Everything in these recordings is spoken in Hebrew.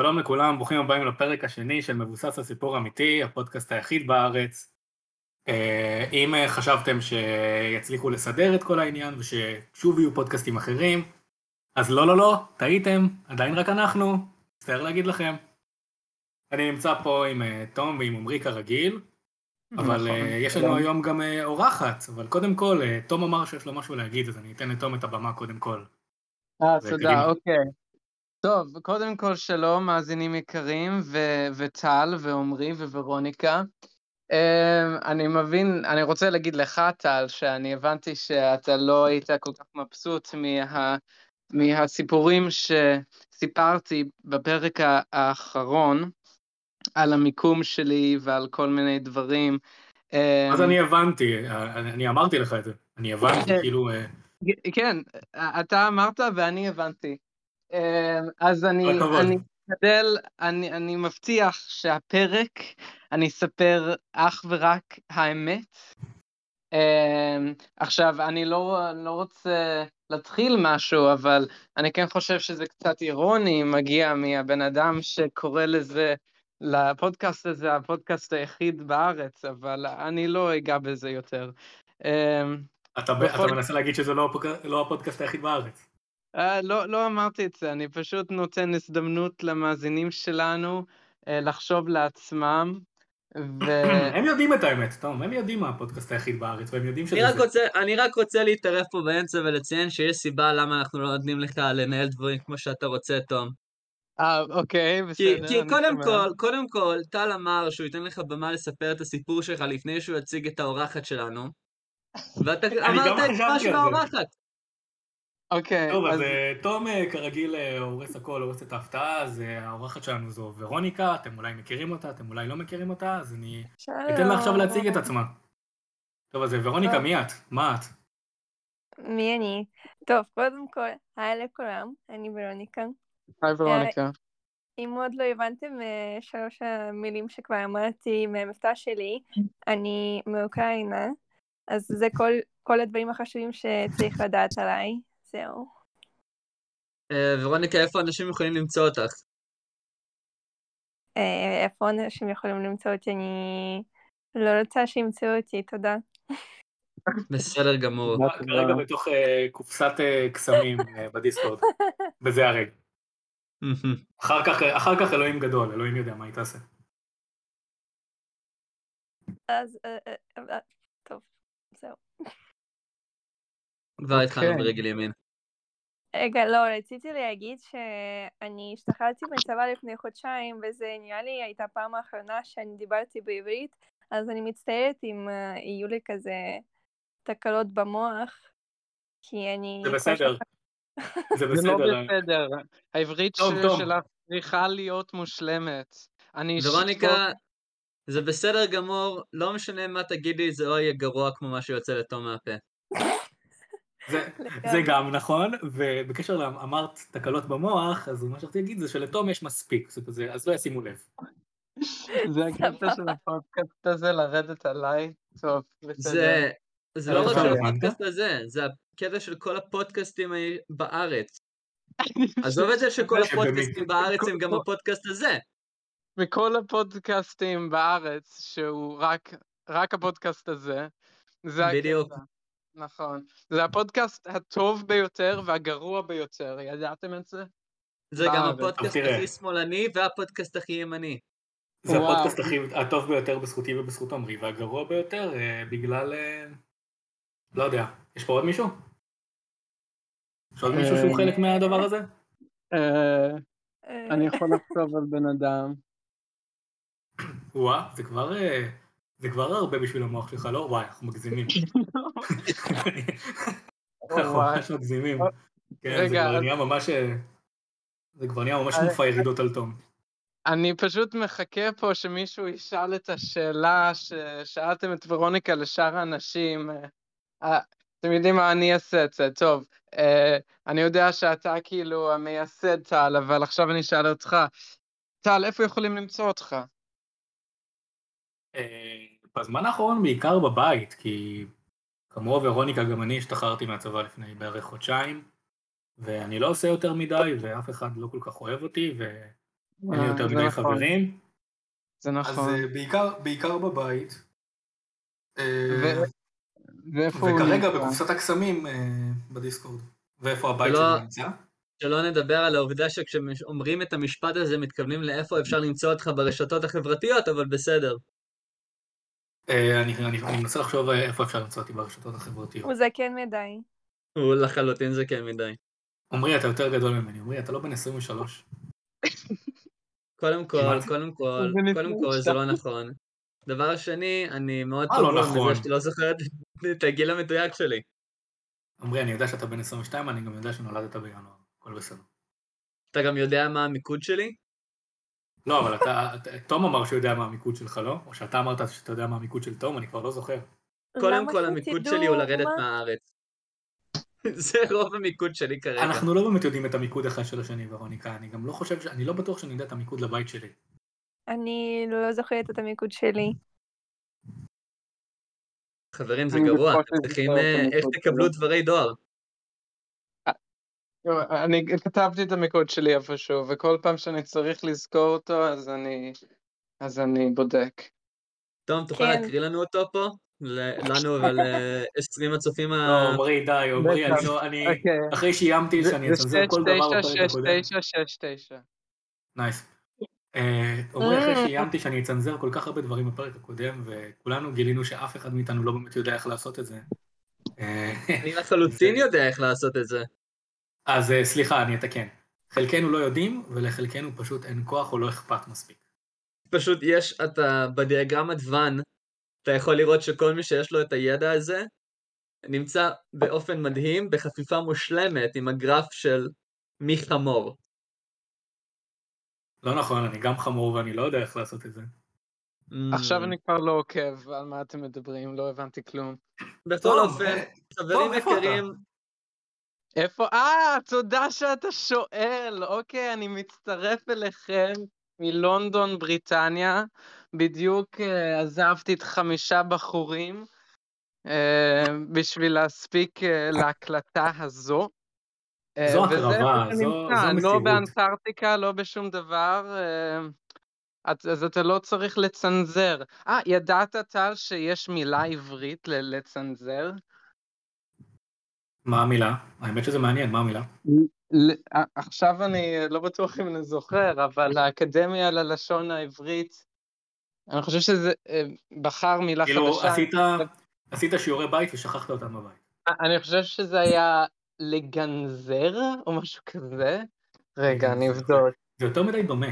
שלום לכולם, ברוכים הבאים לפרק השני של מבוסס על סיפור אמיתי, הפודקאסט היחיד בארץ. אה, אם אה, חשבתם שיצליחו לסדר את כל העניין וששוב יהיו פודקאסטים אחרים, אז לא, לא, לא, טעיתם, עדיין רק אנחנו, מצטער להגיד לכם. אני נמצא פה עם אה, תום ועם עמרי כרגיל, אבל אה, יש לנו נכון. שלום. היום גם אה, אורחת, אבל קודם כל, אה, תום אמר שיש לו משהו להגיד, אז אני אתן לתום את הבמה קודם כל. אה, זה תודה, קדימה. אוקיי. טוב, קודם כל שלום, מאזינים יקרים, ו- וטל, ועומרי, וורוניקה. אמ, אני מבין, אני רוצה להגיד לך, טל, שאני הבנתי שאתה לא היית כל כך מבסוט מה, מהסיפורים שסיפרתי בפרק ה- האחרון, על המיקום שלי ועל כל מיני דברים. אמ, אז אני הבנתי, אה, אני אני אמרתי לך את זה, אני הבנתי, כן. כאילו... אה, כן, אתה אמרת ואני הבנתי. אמ, אז אני, כל הכבוד. אני אשתדל, אני, אני מבטיח שהפרק, אני אספר אך ורק האמת. אמ, עכשיו, אני לא, אני לא רוצה להתחיל משהו, אבל אני כן חושב שזה קצת אירוני מגיע מהבן אדם שקורא לזה, לפודקאסט הזה, הפודקאסט היחיד בארץ, אבל אני לא אגע בזה יותר. אמ, אתה, ב... בכל- אתה מנסה להגיד שזה לא, הפוק... לא הפודקאסט היחיד בארץ. אה, לא, לא אמרתי את זה, אני פשוט נותן הזדמנות למאזינים שלנו אה, לחשוב לעצמם, ו... הם יודעים את האמת, תום, הם יודעים מה הפודקאסט היחיד בארץ, והם יודעים שזה אני רק, זה. רוצה, אני רק רוצה להתערב פה באמצע ולציין שיש סיבה למה אנחנו לא נותנים לך לנהל דברים כמו שאתה רוצה, תום. אה, אוקיי, כי, בסדר, כי אני קודם שומע. כל, קודם כל, טל אמר שהוא ייתן לך במה לספר את הסיפור שלך לפני שהוא יציג את האורחת שלנו. ואתה גם אמרת את חשבתי על מה זה. של האורחת. אוקיי, טוב, אז אז אה, תום אה, כרגיל אה, הורס הכל, הורס את ההפתעה, אז אה, האורחת שלנו זו ורוניקה, אתם אולי מכירים אותה, אתם אולי לא מכירים אותה, אז אני שלום. אתן לה עכשיו להציג את עצמה. טוב, אז אה, ורוניקה, מי את? מה את? מי אני? טוב, קודם כל, היי לכולם, אני ורוניקה. היי ורוניקה. אם עוד לא הבנתם אה, שלוש המילים שכבר אמרתי מהמבטא שלי, אני מאוקראינה, אז זה כל, כל הדברים החשובים שצריך לדעת עליי. זהו. אה, ורוניקה, איפה אנשים יכולים למצוא אותך? אה, איפה אנשים יכולים למצוא אותי? אני לא רוצה שימצאו אותי, תודה. בסדר גמור. מה את כרגע כבר- בתוך אה, קופסת אה, קסמים אה, בדיסקורד, בזה הרגע. אחר כך, אה, אחר כך אלוהים גדול, אלוהים יודע מה היא תעשה. אז אה, אה, אה, טוב, זהו. כבר התחלנו אוקיי. ברגל ימין. רגע, לא, רציתי להגיד שאני השתחררתי מהצבא לפני חודשיים, וזה נראה לי הייתה פעם האחרונה שאני דיברתי בעברית, אז אני מצטערת אם אה, יהיו לי כזה תקלות במוח, כי אני... זה כל בסדר. כך- זה זה לא בסדר. אה. בסדר, העברית טוב, ש- טוב. שלך צריכה להיות מושלמת. אני אשתוק- ורוניקה, זה בסדר גמור, לא משנה מה תגידי, זה לא יהיה גרוע כמו מה שיוצא לתום מהפה. זה- זה גם נכון, ובקשר לאמרת תקלות במוח, אז מה שרציתי להגיד זה שלתום יש מספיק, זאת אומרת, זה- אז לא ישימו לב. לא- זה הקטע של סבבה. הפודקאסט הזה, לרדת עליי. טוב, בסדר. זה, זה לא רק אבל של הבנת? הפודקאסט הזה, זה הקטע של כל הפודקאסטים ה- בארץ. עזוב את זה שכל שבמי- הפודקאסטים בארץ הם גם כל- הפודקאסט הזה. מכל הפודקאסטים בארץ, שהוא רק, רק הפודקאסט הזה, זה הקטע. בדיוק. נכון. זה הפודקאסט הטוב ביותר והגרוע ביותר, ידעתם את זה? זה גם בארץ. הפודקאסט תראה. הכי שמאלני והפודקאסט הכי ימני. זה וואו. הפודקאסט הכי- הטוב ביותר בזכותי ובזכות עמרי, והגרוע ביותר אה, בגלל... אה, לא יודע, יש פה עוד מישהו? יש עוד מישהו שהוא אה, חלק מהדבר הזה? אה, אה, אני יכול לחשוב על בן אדם. וואה, זה כבר... אה, זה כבר הרבה בשביל המוח שלך, לא? וואי, אנחנו מגזימים. אנחנו לא. וואי. ממש מגזימים. אה, כן, זה רגע, כבר אז- נהיה ממש... אה, זה כבר נהיה ממש אה, מופע ירידות על תום. אני פשוט מחכה פה שמישהו ישאל את השאלה ששאלתם את ורוניקה לשאר האנשים. אה, אה, אתם יודעים מה, אני אעשה את זה. טוב, אה, אני יודע שאתה כאילו המייסד טל, אבל עכשיו אני אשאל אותך. טל, איפה יכולים למצוא אותך? אה, בזמן האחרון בעיקר בבית, כי כמוהו ורוניקה גם אני השתחררתי מהצבא לפני בערך חודשיים, ואני לא עושה יותר מדי, ואף אחד לא כל כך אוהב אותי, אין לי יותר זה מדי נכון, חברים. זה אה, אז נכון. אה, בעיקר- בעיקר בבית. אה, ו- ואיפה הוא וכרגע נמצא? בקופסת הקסמים אה, בדיסקורד. ואיפה הבית ולא- שלו נמצא? שלא נדבר על העובדה שכשאומרים את המשפט הזה מתכוונים לאיפה אפשר למצוא אותך ברשתות החברתיות, אבל בסדר. אה, אני אני- אני מנסה לחשוב אה, איפה אפשר למצוא אותי ברשתות החברתיות. הוא זקן כן מדי. הוא לחלוטין זה כן מדי. עמרי, אתה יותר גדול ממני. עמרי, אתה לא בן 23. קודם כל, כמעט. קודם כל, זה קודם נפלא כל, זה לא נכון. דבר שני, אני מאוד מה לא פגוע נכון? מזה שאתה לא זוכר את- את הגיל המדויק שלי. עמרי, אני יודע שאתה בן 22, אני גם יודע שנולדת בינואר. הכל בסדר. אתה גם יודע מה המיקוד שלי? לא, אבל אתה, אתה- תום אמר שהוא יודע מה המיקוד שלך, לא? או שאתה אמרת שאתה יודע מה המיקוד של תום, אני כבר לא זוכר. קודם למה כל, המיקוד שלי הוא לרדת שתדעו מה? מהארץ. זה רוב המיקוד שלי כרגע. אנחנו לא באמת יודעים את המיקוד אחד של השני, ורוניקה, אני גם לא חושב, ש- אני לא בטוח שאני יודע את המיקוד לבית שלי. אני לא זוכרת את המיקוד שלי. חברים, זה אני גרוע, בטוח אתם צריכים... שזה אה, אותו איך מיקוד תקבלו שלו. דברי דואר? אני כתבתי את המיקוד שלי איפשהו, וכל פעם שאני צריך לזכור אותו, אז אני, אז אני בודק. תום, תוכל כן. להקריא לנו אותו פה? ל- לנו ול-20 הצופים לא, ה... עמרי, די, עמרי, אני בטח. לא, אני... אוקיי. אחרי שאיימתי שאני אצנזר כל דבר בפרק הקודם. 696969. נייס. אה, עמרי, אחרי שאיימתי שאני אצנזר כל כך הרבה דברים בפרק הקודם, וכולנו גילינו שאף אחד מאיתנו לא באמת יודע איך לעשות את זה. אה, אני לחלוטין יודע איך לעשות את זה. אז אה, סליחה, אני אתקן. חלקנו לא יודעים, ולחלקנו פשוט אין כוח או לא אכפת מספיק. פשוט יש, אתה בדיאגרמת ואן, אתה יכול לראות שכל מי שיש לו את הידע הזה, נמצא באופן מדהים, בחפיפה מושלמת עם הגרף של מי חמור. לא נכון, אני גם חמור ואני לא יודע איך לעשות את זה. עכשיו Mm. אני כבר לא עוקב על מה אתם מדברים, לא הבנתי כלום. בכל טוב, אופן, אה, חברים טוב, איפה אתה? יקרים, איפה? אה, תודה שאתה שואל. אוקיי, אני מצטרף אליכם מלונדון, בריטניה. בדיוק אה, עזבתי את חמישה בחורים אה, בשביל להספיק אה, להקלטה הזו. אה, זו וזה איפה הקרבה, שאני זו- נמצא, זו לא מסירות. באנטארקטיקה, לא בשום דבר. אה, את- אז אתה לא צריך לצנזר. אה, ידעת, טל, שיש מילה עברית ל- לצנזר? מה המילה? האמת שזה מעניין, מה המילה? ל- ע- עכשיו אני לא בטוח אם אני זוכר, אבל האקדמיה ללשון העברית, אני חושב שזה אה, בחר מילה כאילו, חדשה. עשית, עשית שיעורי בית ושכחת אותם בבית. א- אני חושב שזה היה לגנזר או משהו כזה. רגע, אני לגנזר. אבדוק. זה יותר מדי דומה.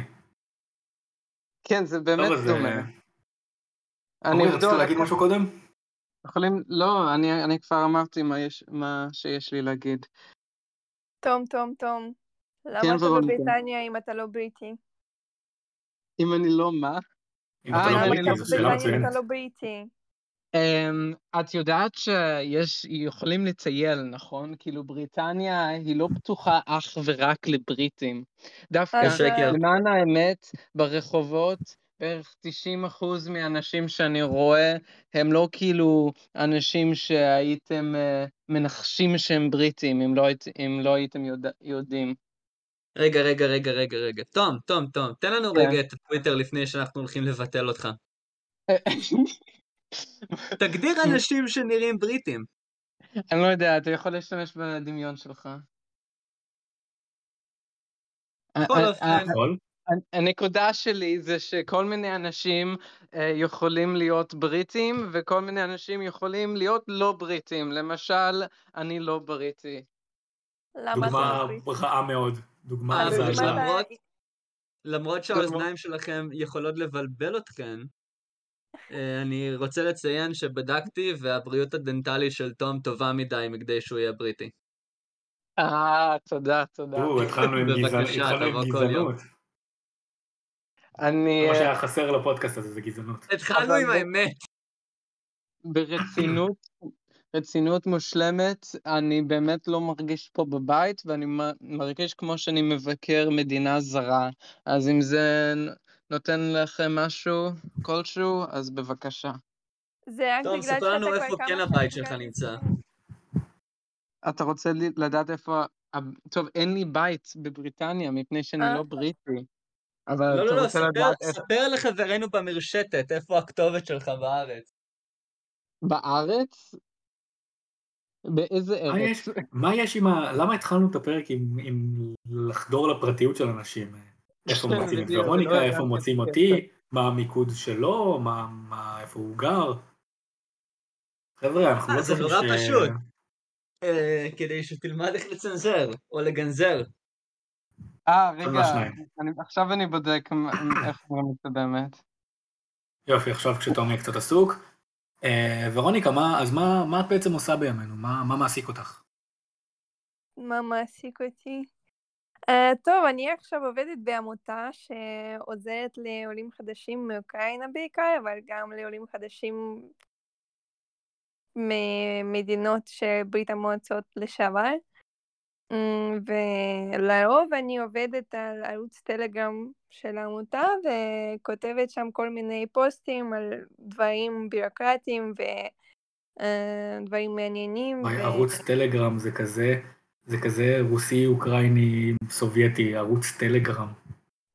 כן, זה טוב, באמת אז, אה, דומה. אני עמרי, אבדוק. רצית להגיד משהו קודם? יכולים... לא, אני, אני כבר אמרתי מה, יש, מה שיש לי להגיד. תום, תום, תום. למה כן, אתה ורוניקה. בבריטניה אם אתה לא בריטי? אם אני לא מה? אם אה, אתה לא אני למה בריטי, אתה לא זו שאלה בבריטניה אם מצוינת. אתה לא בריטי? אמ, את יודעת שיש, יכולים לטייל, נכון? כאילו בריטניה היא לא פתוחה אך ורק לבריטים. דווקא, אז, אה, שקר. למען האמת, ברחובות בערך 90% מהאנשים שאני רואה הם לא כאילו אנשים שהייתם אה, מנחשים שהם בריטים, אם לא, היית- אם לא הייתם יודע, יודעים. רגע, רגע, רגע, רגע, רגע. תום, תום, תום, תן לנו כן. רגע את הטוויטר לפני שאנחנו הולכים לבטל אותך. תגדיר אנשים שנראים בריטים. אני לא יודע, אתה יכול להשתמש בדמיון שלך. אה, בכל אופן, יכול? הנ- הנקודה שלי זה שכל מיני אנשים אה, יכולים להיות בריטים וכל מיני אנשים יכולים להיות לא בריטים. למשל, אני לא בריטי. למה אתה דוגמה לא בריטי? רעה מאוד. דוגמה אה, אבל זה אם מזעזעת. אתה- למרות- למרות שהאוזניים שלכם יכולות לבלבל אתכן, אה, אני רוצה לציין שבדקתי והבריאות הדנטלית של תום טובה מדי מכדי שהוא יהיה בריטי. אה, תודה, תודה. או, התחלנו עם גזע- בבקשה, התחלנו עם תבוא כל גזענות. אני מה אה, שהיה חסר לפודקאסט הזה זה גזענות. התחלנו אבל עם לא- האמת. ברצינות, רצינות מושלמת, אני באמת לא מרגיש פה בבית ואני מ- מרגיש כמו שאני מבקר מדינה זרה. אז אם זה נ- נותן לכם משהו כלשהו, אז בבקשה. זה רק תום, בגלל שאתה ספר לנו איפה כבר כמה כן שנים הבית כאן שלך נמצא. אתה רוצה לי- לדעת איפה... ה- טוב, אין לי בית בבריטניה, מפני שאני אה. לא בריטי. אבל לא, אתה לא, לא, רוצה ספר- לדעת איך ספר לחברינו במרשתת איפה הכתובת שלך בארץ. בארץ? באיזה מה ארץ? יש- מה יש עם ה... למה התחלנו את הפרק עם- עם לחדור לפרטיות של אנשים? איפה כן, מוצאים את בדיוק, לא ורוניקה, איפה הבנתי. מוצאים אותי, מה המיקוד שלו, מה- מה- איפה הוא גר. חבר'ה, אנחנו לא אה, זה צריכים נורא ש- פשוט. אה, כדי שתלמד איך לצנזר, או לגנזר. אה, רגע, מהשניים. אני- עכשיו אני בודק מ- מ- איך אומרים את זה באמת. יופי, עכשיו כשתומי קצת עסוק. אה, ורוניקה, מה- אז מה מה את בעצם עושה בימינו? מה מה מעסיק אותך? מה מעסיק אותי? אה, טוב, אני עכשיו עובדת בעמותה שעוזרת לעולים חדשים מאוקראינה בעיקר, אבל גם לעולים חדשים ממדינות של ברית המועצות לשעבר. אמ, ולרוב אני עובדת על ערוץ טלגרם של העמותה וכותבת שם כל מיני פוסטים על דברים בירוקרטיים ודברים אה, מעניינים. וואי, ו- ערוץ טלגרם זה כזה, זה כזה רוסי, אוקראיני, סובייטי, ערוץ טלגרם.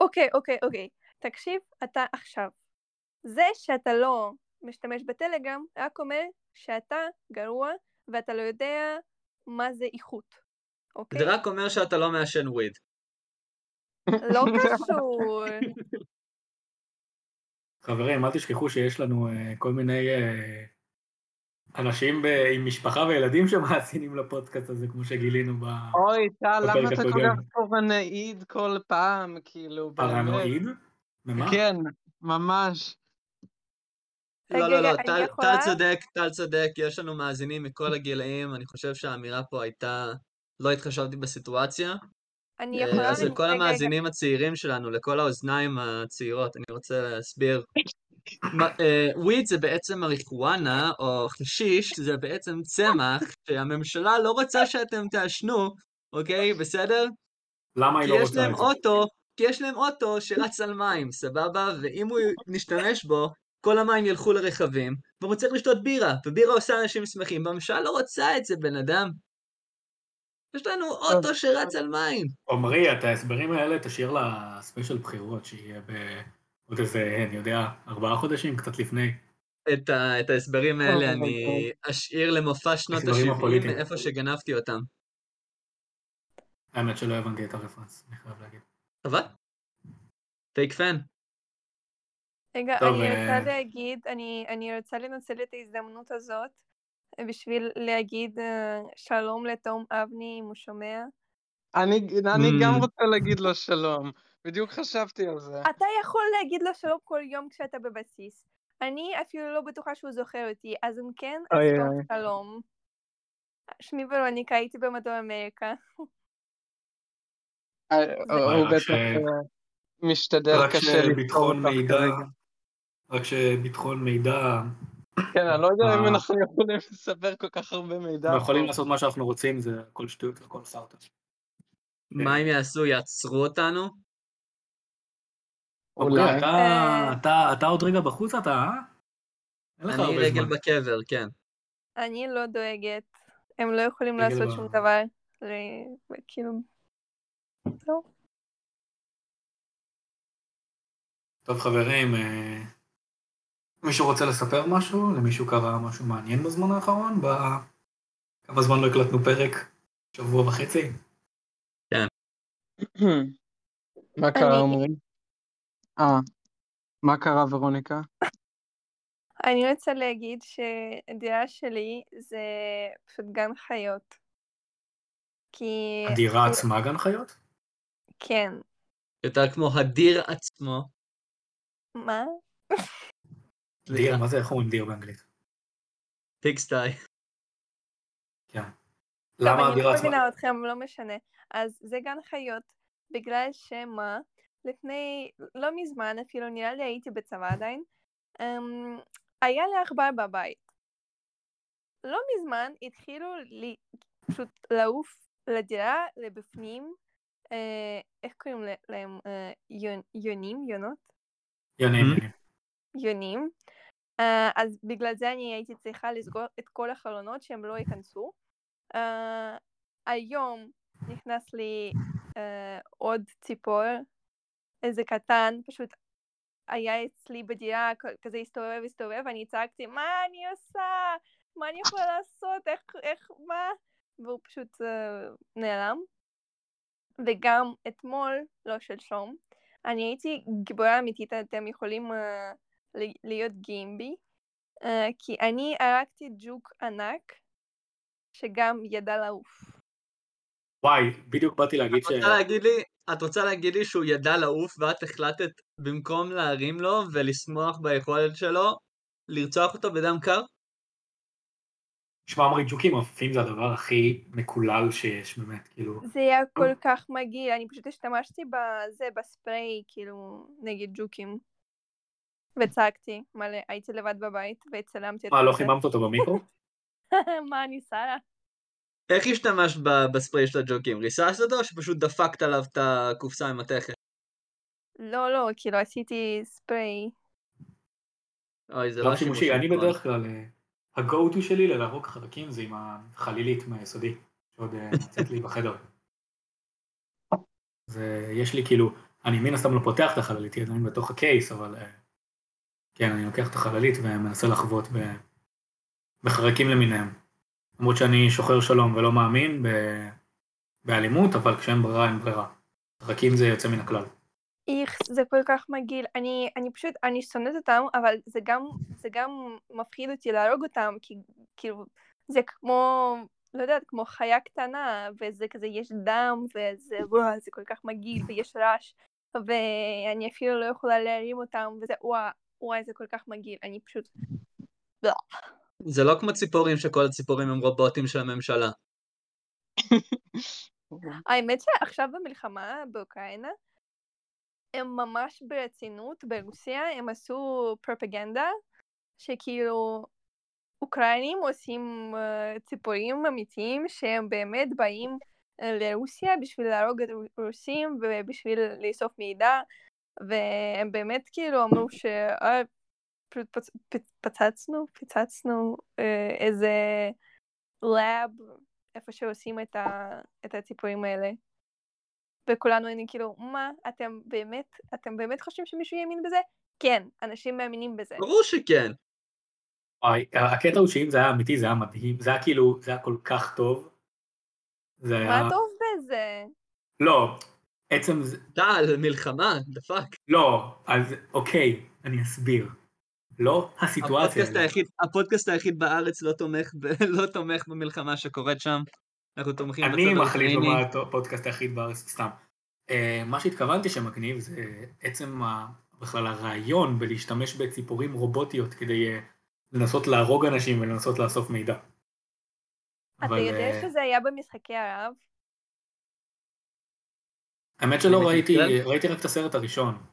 אוקיי, אוקיי, אוקיי. תקשיב, אתה עכשיו. זה שאתה לא משתמש בטלגרם, רק אומר שאתה גרוע ואתה לא יודע מה זה איכות. אוקיי? זה רק אומר שאתה לא מעשן וויד. לא קשור. חברים, אל תשכחו שיש לנו אה, כל מיני אה, אנשים ב- עם משפחה וילדים שמאזינים לפודקאסט הזה, כמו שגילינו אוי, טל, למה בפרק אתה כל הקודם. כך פורנאיד כל פעם, כאילו, באמת? בפרנואיד. ממה? כן, ממש. לא, אה, רגע, לא, לא, אני טל- טל יכולה? צודק, טל צודק, יש לנו מאזינים מכל הגילאים, אני חושב שהאמירה פה הייתה, לא התחשבתי בסיטואציה. אני אה, יכולה... אז רגע, לכל רגע, רגע. המאזינים הצעירים שלנו, לכל האוזניים הצעירות, אני רוצה להסביר. מה- אה, וויד זה בעצם מריחואנה, או חשיש, זה בעצם צמח שהממשלה לא רוצה שאתם תעשנו, אוקיי? בסדר? למה היא כי לא יש רוצה להם את זה? אוטו, כי יש להם אוטו שרץ על מים, סבבה? ואם הוא נשתמש בו, כל המים ילכו לרכבים, והוא צריך לשתות בירה, ובירה עושה אנשים שמחים, והממשלה לא רוצה את זה, בן אדם. יש לנו אוטו שרץ על מים. עמרי, את ההסברים האלה תשאיר לספיישל בחירות, שיהיה בעוד איזה, אני יודע, ארבעה חודשים, קצת לפני. את, ה, את ההסברים אוי, האלה אוי, אני אוי. אשאיר למופע שנות הסברים ה-70 הפוליטיים. מאיפה שגנבתי אותם. האמת שלא הבנתי את הרפרנס, אני חייב להגיד. אבל? פייק פן. רגע, טוב, אני אה, רוצה להגיד, אני, אני רוצה לנצל את ההזדמנות הזאת בשביל להגיד אה, שלום לתום אבני, אם הוא שומע. אני אני גם Mm. רוצה להגיד לו שלום. בדיוק חשבתי על זה. אתה יכול להגיד לו שלום כל יום כשאתה בבסיס. אני אפילו לא בטוחה שהוא זוכר אותי, אז אם כן, אז אוי, תום אוי. שלום. שמי ורוניקה, הייתי במדור אמריקה. אה, זה- הוא וואי, רק בטח ש- אה, משתדל רק קשה לפתור שביטחון אותך מידע, כרגע. רק שביטחון מידע, כן, אני לא יודע אם אה. אנחנו יכולים לספר כל כך הרבה מידע. אנחנו יכולים פה. לעשות מה שאנחנו רוצים, זה הכל שטויות, הכל סרטן. כן. מה הם יעשו? יעצרו אותנו? אולי. אולי. אה. אתה, אתה, אתה עוד רגע בחוץ אתה, אה? אין לך אני הרבה זמן. רגל בקבר, כן. אני לא דואגת, הם לא יכולים רגע לעשות ב- שום דבר. ל- כאילו... לא. טוב חברים, אה, מישהו רוצה לספר משהו? למישהו קרה משהו מעניין בזמן האחרון? ב... כמה זמן לא הקלטנו פרק? שבוע וחצי? מה קרה, אני- עמרי? אה, מה קרה, ורוניקה? אני רוצה להגיד שהדירה שלי זה פשוט גן חיות. כי... הדירה עצמה גן חיות? כן. יותר כמו הדיר עצמו. מה? דיר, מה זה, כן. איך אומרים דיר באנגלית? פיקסטאי. כן. טוב, למה הדירה אני לא עצמה? מבינה אתכם, לא משנה. אז זה גן חיות, בגלל שמה, לפני, לא מזמן אפילו, נראה לי הייתי בצבא עדיין, אמ, היה לי עכבר בבית. לא מזמן התחילו לי פשוט לעוף לדירה, לבפנים, אה, איך קוראים לה- להם? אה, יונ- יונים? יונות? יוני, Hmm? יוני. יונים. אה, אז בגלל זה אני הייתי צריכה לסגור את כל החלונות שהם לא ייכנסו. אה, היום נכנס לי אה, עוד ציפור איזה קטן, פשוט היה אצלי בדירה, כ- כזה הסתובב, הסתובב, אני צעקתי, מה אני עושה? מה אני יכולה לעשות? איך, איך, מה? והוא פשוט אה, נעלם. וגם אתמול, לא שלשום, אני הייתי גיבורה אמיתית, אתם יכולים אה, ל- להיות גאים בי, אה, כי אני הרגתי ג'וק ענק, שגם ידע לעוף. וואי, בדיוק באתי להגיד את ש... רוצה להגיד לי, את רוצה להגיד לי שהוא ידע לעוף ואת החלטת במקום להרים לו ולשמוח ביכולת שלו, לרצוח אותו בדם קר? שמע, אמרי ג'וקים עפים זה הדבר הכי מקולל שיש, באמת, כאילו. זה היה כל כך מגעיל, אני פשוט השתמשתי בזה, בספרי, כאילו, נגד ג'וקים. וצעקתי מלא, הייתי לבד בבית והצלמתי את מה, לא זה. חיממת אותו במיקרו? מה, אני שרה? איך השתמשת ב- בספרי של הג'וקים? ריססת אותו או שפשוט דפקת עליו את הקופסה עם התכת? לא, לא, כאילו, עשיתי ספרי. אוי, זה לא לא שימושי, אני נכון. בדרך כלל, אה, ה-go to שלי ללהרוג חרקים זה עם החלילית מהיסודי, שעוד אה, נמצאת לי בחדר. זה, יש לי כאילו, אני מן הסתם לא פותח את החללית, היא עדיין בתוך הקייס, אבל אה, כן, אני לוקח את החללית ומנסה לחבוט ב- בחרקים למיניהם. למרות שאני שוחר שלום ולא מאמין ב- באלימות, אבל כשאין ברירה, אין ברירה. חרקים זה יוצא מן הכלל. איך, זה כל כך מגעיל. אני, אני פשוט, אני שונאת אותם, אבל זה גם, זה גם מפחיד אותי להרוג אותם, כי כאילו, זה כמו, לא יודעת, כמו חיה קטנה, וזה כזה, יש דם, וזה, וואו, זה כל כך מגעיל, ויש רעש, ואני אפילו לא יכולה להרים אותם, וזה, וואו, וואי, זה כל כך מגעיל. אני פשוט, זה לא כמו ציפורים שכל הציפורים הם רובוטים של הממשלה. האמת שעכשיו במלחמה באוקראינה, הם ממש ברצינות, ברוסיה, הם עשו פרופגנדה, שכאילו אוקראינים עושים אה, ציפורים אמיתיים שהם באמת באים אה, לרוסיה בשביל להרוג את הרוסים ובשביל לאסוף מידע, והם באמת כאילו אמרו ש... "אה, פשוט פצ- פ- פצצנו, פצצנו אה, איזה לאב איפה שעושים את, ה... את הציפורים האלה. וכולנו היינו כאילו, מה, אתם באמת, אתם באמת חושבים שמישהו יאמין בזה? כן, אנשים מאמינים בזה. ברור שכן. וואי, הקטע הוא שאם זה היה אמיתי, זה היה מדהים, זה היה כאילו, זה היה כל כך טוב. זה היה... מה טוב בזה? לא, עצם זה, טל, מלחמה, דפק. לא, אז אוקיי, אני אסביר. לא הסיטואציה. הפודקאסט היחיד, הפודקאסט היחיד בארץ לא תומך, ב- לא תומך במלחמה שקורית שם. אנחנו תומכים בצד אני מחליט האוקראיני. במה הפודקאסט היחיד בארץ, סתם. אה, מה שהתכוונתי שמגניב זה עצם ה- בכלל הרעיון בלהשתמש בציפורים רובוטיות כדי אה, לנסות להרוג אנשים ולנסות לאסוף מידע. אתה אבל, יודע אה, שזה היה במשחקי ערב? האמת שלא אני ראיתי, מתנצל. ראיתי רק את הסרט הראשון.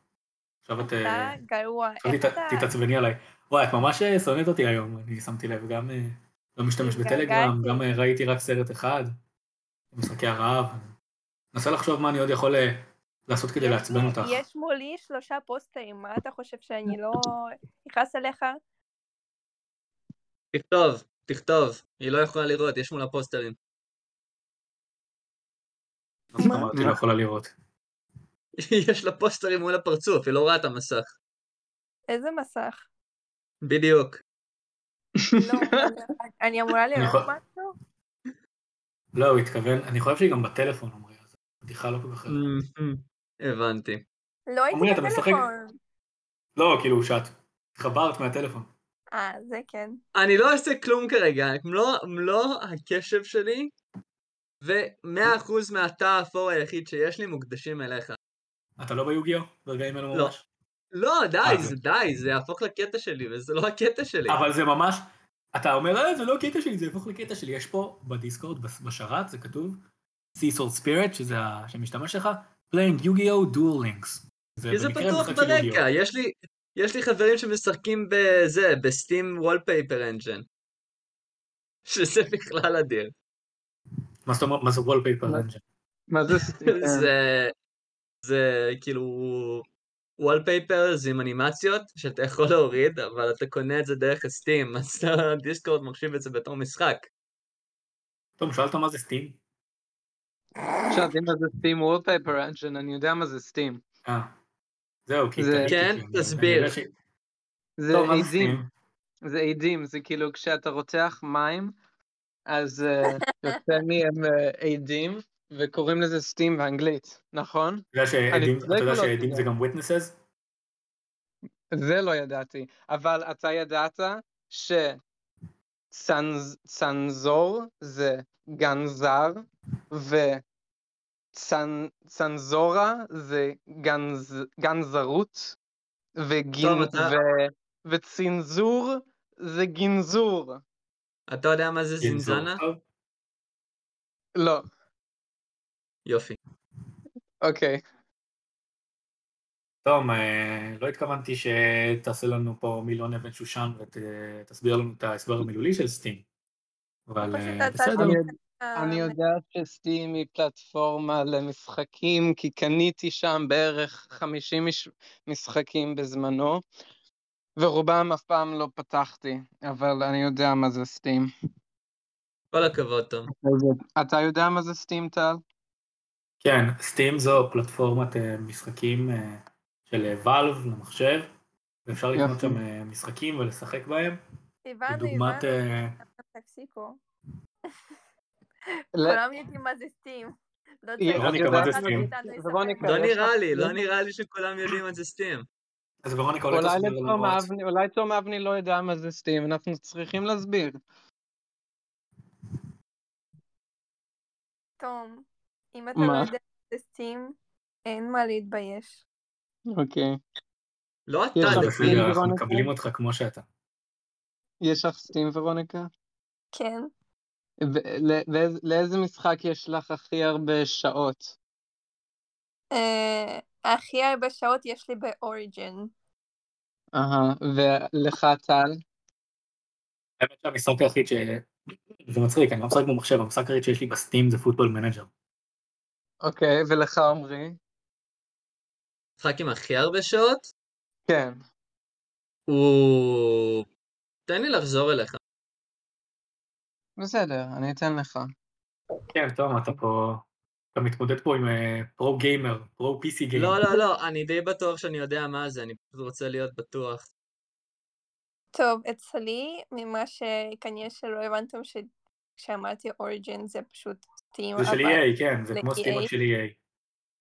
עכשיו את... אתה אה, גרוע. עכשיו איך תת- אתה... תתעצבני עליי. וואי, את ממש אה, שונאת אותי היום, אני שמתי לב, גם אה, לא משתמש בטלגרם, התגעגעתי. גם אה, ראיתי רק סרט אחד, משחקי הרעב. מנסה לחשוב מה אני עוד יכול אה, לעשות כדי יש לעצבן לי- אותך. יש מולי שלושה פוסטרים, מה אתה חושב שאני לא נכנס אליך? תכתוב, תכתוב. היא לא יכולה לראות, יש מול הפוסטרים. לא אמרתי, לא יכולה לראות. יש לה פוסטרים מול הפרצוף, היא לא רואה את המסך. איזה מסך? בדיוק. לא, אני- אני אמורה לראות יכול- משהו? לא, הוא התכוון, אני חושב שהיא גם בטלפון, עמרי, אז בדיחה לא כל כך... Mm. הבנתי. לא הייתי עמרי, אתה משחק? בטלפון. לא, כאילו, שאת התחברת מהטלפון. אה, זה כן. אני לא אעשה כלום כרגע, מלוא, מלוא לא הקשב שלי ומאה אחוז מהתא האפור היחיד שיש לי מוקדשים אליך. אתה לא ביוגיו? ברגעים אלו לא. ממש? לא, אה, די, זה די, זה יהפוך לקטע שלי, וזה לא הקטע שלי. אבל זה ממש, אתה אומר, אה, זה לא קטע שלי, זה יהפוך לקטע שלי. יש פה בדיסקורד, בס- בשרת, זה כתוב, Seasort Spirit, שזה השם משתמש שלך, playing Yu-Gi-Oh! Dual Links. כי זה במקרה פתוח משחק של ברקע, Yu-Gi-Oh! יש לי, יש לי חברים שמשחקים בזה, בסטים וולפייפר אנג'ן. שזה בכלל אדיר. מה זאת אומרת, מה זה wallpaper מה? engine? מה זה סטיק? זה, זה כאילו וולפייפרס עם אנימציות שאתה יכול להוריד, אבל אתה קונה את זה דרך הסטים, אז אתה- דיסקורד מחשיב את זה בתור משחק. תום, שאלת מה זה סטים? אה, אפשר יודעים מה זה סטים וולפייפר אנג'ן, אני יודע מה זה סטים. אה, זהו, כי... זה- טעיתי, כן, כי אני- תסביר. אני יודע ש- זה טוב, מה עידים, עושים? זה עידים, זה כאילו כשאתה רותח מים, אז אה, יוצא מהם אה, עידים, וקוראים לזה סטים באנגלית, נכון? אתה יודע שעדים- צודק אתה יודע או לא שעדים זה צודק? גם witnesses? זה לא ידעתי, אבל אתה ידעת שצנזור זה גנזר, וצנזורה זה גנז, גנזרות, וגין, טוב, אתה- ו, וצנזור זה גנזור. אתה יודע מה זה גנזור. זינזנה? טוב, לא, יופי. אוקיי. תום, אה, לא התכוונתי שתעשה לנו פה מילון אבן שושן ותסביר לנו את ההסבר המילולי של סטים. אבל אה, פשוט הצעה בסדר. אני, שלי. אה, אני יודע שסטים היא פלטפורמה למשחקים, כי קניתי שם בערך 50 מש- משחקים בזמנו, ורובם אף פעם לא פתחתי, אבל אני יודע מה זה סטים. כל הכבוד, תום. אתה יודע מה זה סטים, טל? כן, סטים זו פלטפורמת אה, משחקים אה, של ואלב למחשב, ואפשר יפה. לקנות שם אה, משחקים ולשחק בהם. הבנו, לדוגמת, הבנו, אה, תפסיקו. ל- כולם יודעים מה זה סטים. לא צריך ורוניקה, שאף מה זה אחד סטים? מאיתנו יספר ורוניקה, לנו. לא כן, יש נראה לך לי, סטים? לא נראה לי שכולם יודעים מה זה סטים. אז ורוניקה אולי אולי תסביר לנו לתום עוד. כן, אבני- אולי תום אבני לא יודע מה זה סטים, אנחנו צריכים להסביר. תום, אם אתה מה? לא יודע מה זה סטים, אין מה להתבייש. אוקיי. לא אתה, יש זה לך דוד. סטים, בסדר, אנחנו ורוניקה? מקבלים אותך כמו שאתה. יש לך סטים, ורוניקה? כן. ו- ל- לאיזה- לאיזה משחק יש לך הכי הרבה שעות? אה, הכי הרבה שעות יש לי באוריג'ן. אהה, ולך טל? האמת שהמשחק היחיד ש... זה מצחיק, אני לא משחק במחשב, המשחק היחיד שיש לי בסטים זה פוטבול מנג'ר. אוקיי, ולך עמרי? משחק עם הכי הרבה שעות? כן. הוא... תן לי לחזור אליך. בסדר, אני אתן לך. כן, תום, אתה פה... אתה מתמודד פה עם אה, פרו גיימר, פרו PC גיימר. לא, לא, לא, אני די בטוח שאני יודע מה זה, אני פשוט רוצה להיות בטוח. טוב, אצלי, ממה שכנראה שלא הבנתם ש- כשאמרתי אוריג'ן זה פשוט סטים. זה של אבל- EA, כן, זה זה E כמו סטים EA. רק של E EA.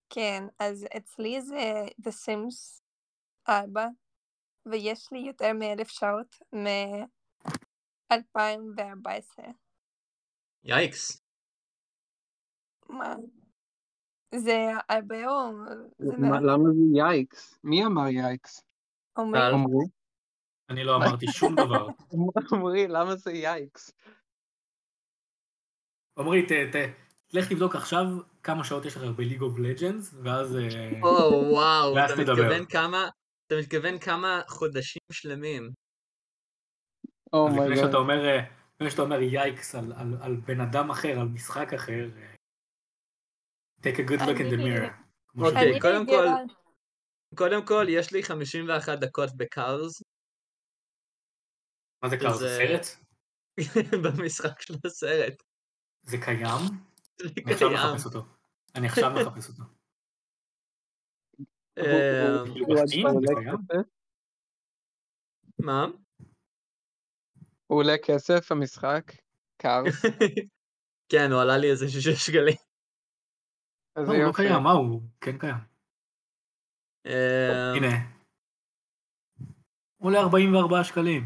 כן, אז אצלי זה The Sims 4, ויש לי יותר מאלף שעות מ-2014. יאיקס. כן. מה? זה הרבה או... זה מה- מעט למה זה יאיקס? מי אמר יאיקס? אומרים. טל, עמרי? אני לא אמרתי שום דבר. עמרי, למה זה יאיקס? עמרי, ת... ת- לך תבדוק עכשיו כמה שעות יש לך בליג אוף לג'אנס, ואז... אה, או וואו, ואז אתה תדבר. מתכוון כמה... אתה מתכוון כמה חודשים שלמים. אז לפני אומייגוד. שאתה אומר, אה, לפני שאתה אומר יאיקס על, על, על בן אדם אחר, על משחק אחר, אה, take a good look in the אני- mirror. כמו אוקיי, שאומרים. אני קודם כל- רגילה- קודם כל, יש לי 51 דקות בקארס, מה זה קר? זה זה- סרט? במשחק של הסרט. זה קיים? זה אני עכשיו לא קיים. מחפש אותו. אני עכשיו לא מחפש אותו. הוא- אה, הוא- כאילו, הוא בסטים? עדיין זה עולה קיים? כסף? מה? הוא עולה כסף, המשחק? לא, קארס? כן, הוא עלה לי איזה שישה שקלים. אז לא, הוא לא יופי. קיים, מה הוא? כן קיים. אה, הנה. הוא עולה 44 שקלים.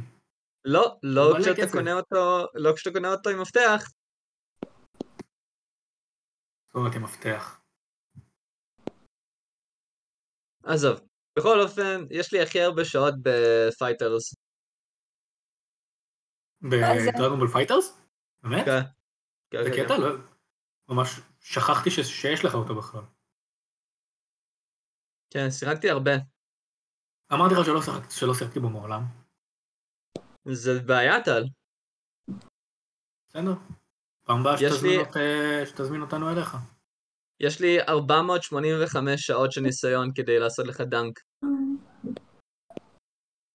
לא, הוא לא מלא כשאתה כסף. קונה אותו, לא כשאתה קונה אותו עם מפתח. זאת מפתח. עזוב. בכל אופן, יש לי הכי הרבה שעות בפייטרס. אה, מה זה? בדרגונבול פייטרס? באמת? כן. כן, זה כן, קטע? כן. לא... ממש שכחתי ש... שיש לך אותו בכלל. כן, שיחקתי הרבה. אמרתי לך שלא שיחקתי- שלא שיחקתי בו מעולם. זה בעיה, טל. בסדר. פעם הבאה יש שתזמין לי- אות- אה, שתזמין אותנו אליך. יש לי 485 שעות של ניסיון כדי לעשות לך דנק.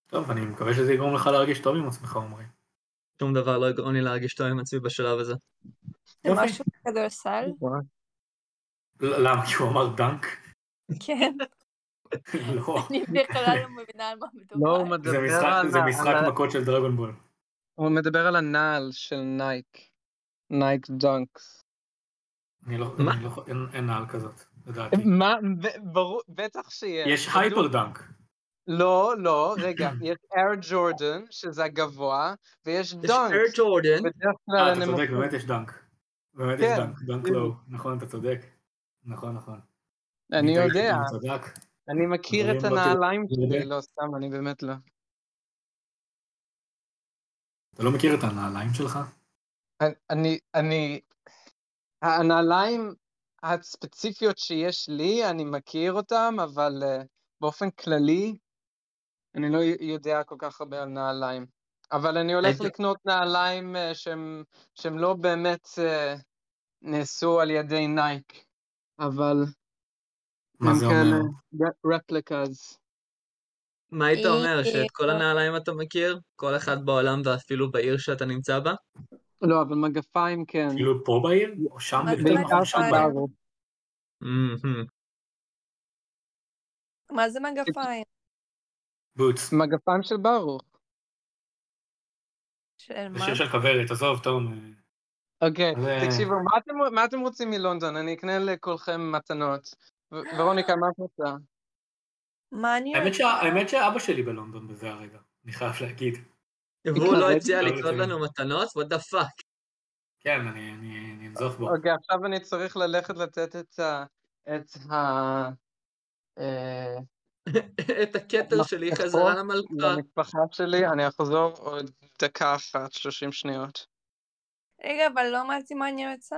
טוב, אני מקווה שזה יגרום לך להרגיש טוב עם עצמך, עמרי. שום דבר לא יגרום לי להרגיש טוב עם עצמי בשלב הזה. זה יופי. משהו כדורסל? וואי. ל- למה? כי הוא אמר דנק? כן. לא. אני בכלל לא מבינה על מה מדובר. לא, הוא זה מדבר משחק- על זה ה- משחק על ה- מכות של דרגונבול. הוא מדבר על הנעל של נייק. נייק דונקס. אני לא, מה? אני לא, אין- אין נעל כזאת, לדעתי. מה? אה, ב- ברור, בטח שיש. יש הייפר דאנק. לא, לא, רגע. יש אייר ג'ורדן, שזה הגבוע, ויש יש אייר דונקס. ג'ורדן, בדרך כלל אה, אתה הנמוכים. צודק, באמת יש דאנק. באמת יש כן, דאנק, דאנק בדיוק. לואו. נכון, אתה צודק. נכון, נכון. אני טעיתי, יודע, אני צדק. אני מכיר את אבל אם לא הנעליים תראה- שלי, לא, סתם, אני באמת לא. אתה לא מכיר את הנעליים שלך? אני, אני, הנעליים הספציפיות שיש לי, אני מכיר אותם, אבל אה, באופן כללי, אני לא יודע כל כך הרבה על נעליים. אבל אני הולך היית- לקנות נעליים אה, שהם, שהם לא באמת אה, נעשו על ידי נייק, אבל מה הם זה כאלה אומר? ר- replicas. מה היית אומר? שאת כל אה, הנעליים אתה מכיר? כל אחד בעולם ואפילו בעיר שאתה נמצא בה? לא, אבל מגפיים כן. כאילו פה בעיר? או שם מה זה בעיר? בעיקר נכון, שם מגפיים? בעיר. בארץ. מהמם. מה זה מגפיים? בוטס. מגפיים של ברוך. של זה מה? שיר של כוורת, עזוב, תום. אוקיי, זה- תקשיבו, מה אתם- מה אתם רוצים מלונדון? אני אקנה לכולכם מתנות. ו- ורוניקה, מה את רוצה? מה אני האמת יודעת? שה- האמת שאבא שלי בלונדון בזה הרגע, אני חייב להגיד. והוא אה, לא התלבט. הציע לא לקנות רציני. לנו מתנות? what the fuck? כן, אני- אני אני אנזוף בו. אוקיי, עכשיו אני צריך ללכת לתת את ה... את ה... אה, את הכתר שלי נכון? מפתחות חזרה למלכה. למשפחה שלי, אני אחזור עוד דקה אחת, 30 שניות. רגע, אבל לא אמרתי מה אני רוצה.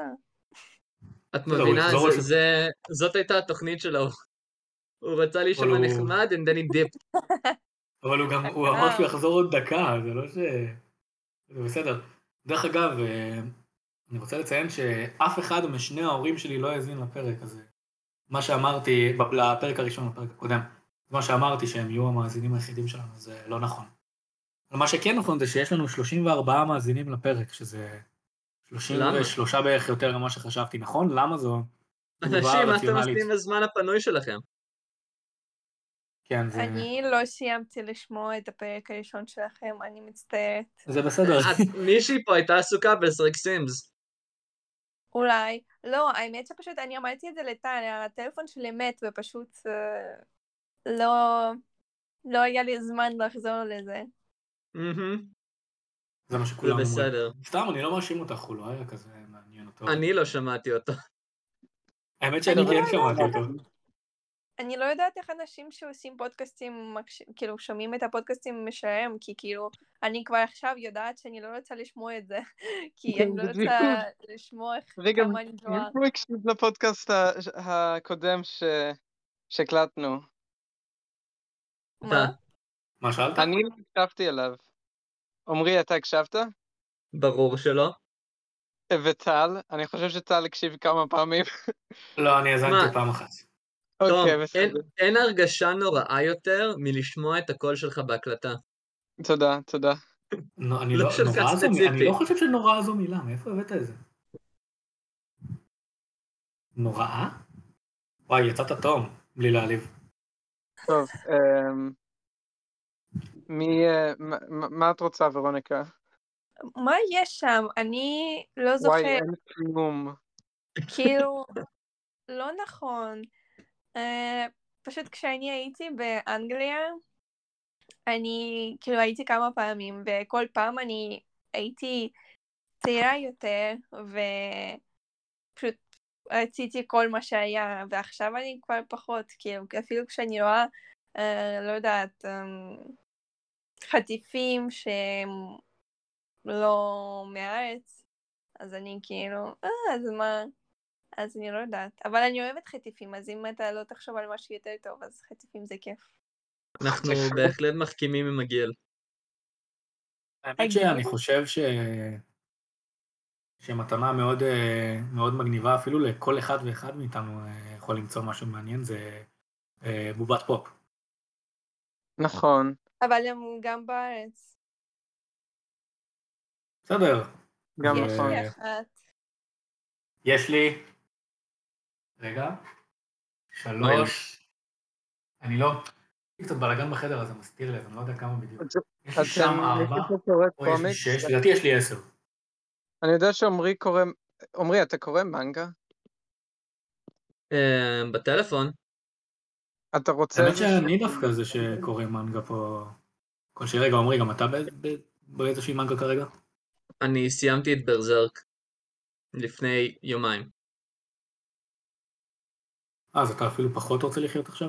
את לא, הוא מבינה? יחזור זה- לשם. זה- זאת הייתה התוכנית שלו. הוא רצה אבל להישמע הוא- נחמד, and then he dipped. אבל הוא גם, הוא אמר שהוא יחזור עוד דקה, זה לא ש... זה בסדר. דרך אגב, אה, אני רוצה לציין שאף אחד משני ההורים שלי לא האזין לפרק הזה. מה שאמרתי, בפ- לפרק הראשון, לפרק הקודם, מה שאמרתי שהם יהיו המאזינים היחידים שלנו, זה לא נכון. אבל מה שכן נכון זה שיש לנו 34 מאזינים לפרק, שזה 33 בערך יותר ממה שחשבתי, נכון? למה זו? תגובה אנשים, מה אתם רציונלית? עושים בזמן הפנוי שלכם? כן, זה- אני לא סיימתי לשמוע את הפרק הראשון שלכם, אני מצטערת. זה בסדר. את- מישהי פה הייתה עסוקה בלשחק סימס. אולי. לא, האמת שפשוט אני אמרתי את זה לטל, הטלפון שלי מת ופשוט אה, לא... לא היה לי זמן לחזור לזה. מהמם. זה מה זה שכולם אומרים. בסדר. סתם, אני לא מאשים אותך, הוא לא היה כזה מעניין אותו. אני לא שמעתי אותו. האמת שאני אני כן לא שמעתי יודעת. אותו. אני לא יודעת איך אנשים שעושים פודקאסטים, מקש- כאילו שומעים את הפודקאסטים משלהם, כי כאילו, אני כבר עכשיו יודעת שאני לא רוצה לשמוע את זה, כי אני לא רוצה לשמוע איך- רגע, אה. כמה אני טועה. הוא הקשיב לפודקאסט ה- הקודם ש- שהקלטנו. מה? אתה, מה שאלת? אני לא הקשבתי אליו. עמרי, אתה הקשבת? ברור שלא. וטל, אני חושב שטל הקשיב כמה פעמים. לא, אני מה? האזנתי פעם אחת. תום, אוקיי, אין- בסדר. אין הרגשה נוראה יותר מלשמוע את הקול שלך בהקלטה. תודה, תודה. נו, אני לא לא, של נורא כך זו מילה, אני ספציפי. לא חושב שנורא זו מילה, מאיפה הבאת את זה? נוראה? וואי, יצאת תום, בלי להעליב. טוב, אמ, מי... אה, מה- מה- מה את רוצה, ורוניקה? מה יש שם? אני לא וואי, זוכרת, אין כלום. כאילו, לא נכון. אה, פשוט כשאני הייתי באנגליה, אני כאילו הייתי כמה פעמים, וכל פעם אני הייתי צעירה יותר, ופשוט רציתי כל מה שהיה, ועכשיו אני כבר פחות, כאילו, אפילו כשאני רואה, אה, לא יודעת, אמ, חטיפים שהם לא מהארץ, אז אני כאילו, אה, אז מה? אז אני לא יודעת. אבל אני אוהבת חטיפים, אז אם אתה לא תחשוב על משהו יותר טוב, אז חטיפים זה כיף. אנחנו בהחלט מחכימים עם הגיל. האמת שאני חושב ש... שמתנה מאוד, אה, מאוד מגניבה, אפילו לכל אחד ואחד מאיתנו אה, יכול למצוא משהו מעניין, זה אה, בובת פופ. נכון. אבל הם גם בארץ. בסדר, גם אה, יש נכון. לי אחת. יש לי... רגע. שלוש, אוקיי. אני לא... יש קצת בלאגן בחדר אז זה מסתיר לי, אז אני לא יודע כמה בדיוק. יש לי אז שם אני- ארבע, מישהו קורא או יש לי קומיקס? שש, לדעתי יש לי עשר. אני יודע שעמרי קורא... עמרי, אתה קורא מנגה? אמ, בטלפון. אתה רוצה... האמת איזה- שאני דווקא זה שקורא מנגה פה כל שני רגע. עמרי, גם אתה ב- ב- באיזושהי מנגה כרגע? אני סיימתי את ברזרק לפני יומיים. אה, אז אתה אפילו פחות רוצה לחיות עכשיו?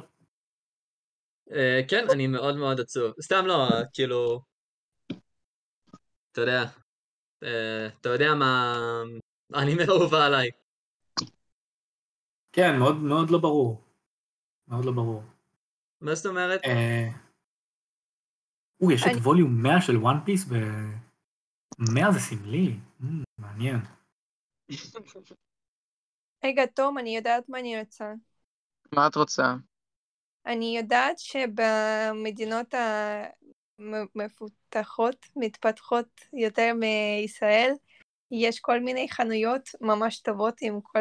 אה, כן, אני מאוד מאוד עצוב. סתם לא, כאילו... אתה יודע. אה, אתה יודע מה... האנימה אהובה עליי. כן, מאוד מאוד לא ברור. מאוד לא ברור. מה זאת אומרת? אה, או, יש את אני- ווליום 100 של וואן פיס ב... 100 זה סמלי. Mm, מעניין. רגע, תום, אני יודעת מה אני רוצה. מה את רוצה? אני יודעת שבמדינות המפותחות, מתפתחות יותר מישראל, יש כל מיני חנויות ממש טובות עם כל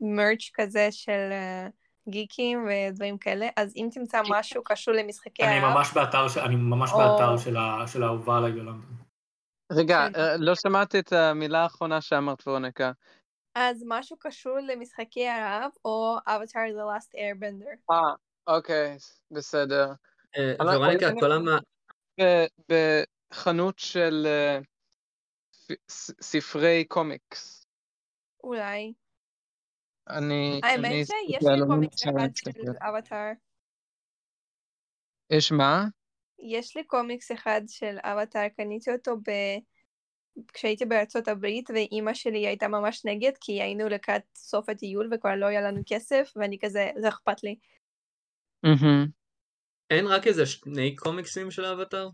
מרץ' כזה של אה, גיקים ודברים כאלה, אז אם תמצא משהו קשור למשחקי אני הרב, ממש באתר, ש- אני ממש כן. או- באתר של ה- של האהובה עליי בלונדון. רגע, כן. אה, לא שמעתי את המילה האחרונה שאמרת, וורנקה. אז משהו קשור למשחקי הרב, או Avatar The Last Airbender. אה, אוקיי, בסדר. אה, אבל- ורוניקה, אבל- כל המ... ב- בחנות של אה, ס- ס- ספרי קומיקס. אולי. אני... אני האמת שיש אסתכל, לי אני קומיקס אנסה אחד להסתכל. של אבטאר. יש מה? יש לי קומיקס אחד של אבטאר, קניתי אותו ב... כשהייתי בארצות הברית, ואימא שלי הייתה ממש נגד, כי היינו לקראת סוף הטיול וכבר לא היה לנו כסף, ואני כזה, זה אכפת לי. מהמם. אין רק איזה שני קומיקסים של אבטאר?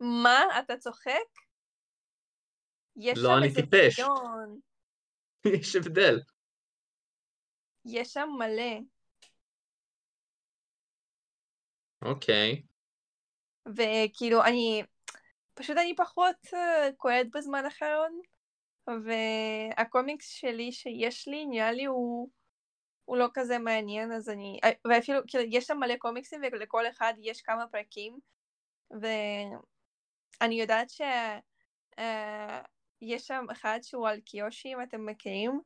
מה? אתה צוחק? יש לא, שם אני איזה טיפש. מיליון, יש הבדל. יש שם מלא, אוקיי. וכאילו, אני... פשוט אני פחות אה, כועדת בזמן האחרון, והקומיקס שלי שיש לי, נראה לי הוא... הוא לא כזה מעניין, אז אני... ואפילו, כאילו, יש שם מלא קומיקסים, ולכל אחד יש כמה פרקים, ואני יודעת ש... אה, יש שם אחד שהוא על קיושי, אם אתם מכירים,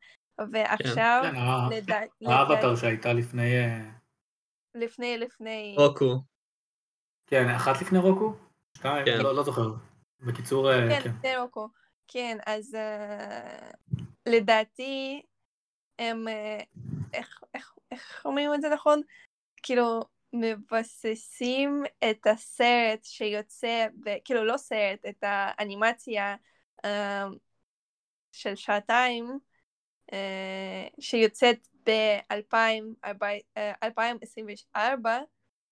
ועכשיו, כן, ה- לדע- האבטר לדע- שהייתה לפני... אה, לפני, לפני, רוקו. כן, אחת לפני רוקו? שתיים? כן. לא לא זוכר. בקיצור, אה, כן, כן. לפני רוקו. כן, אז אה, לדעתי, הם, אה, איך- איך- איך אומרים את זה נכון? כאילו, מבססים את הסרט שיוצא, ב- כאילו, לא סרט, את האנימציה אה, של שעתיים, אה, שיוצאת אה, ב-2024,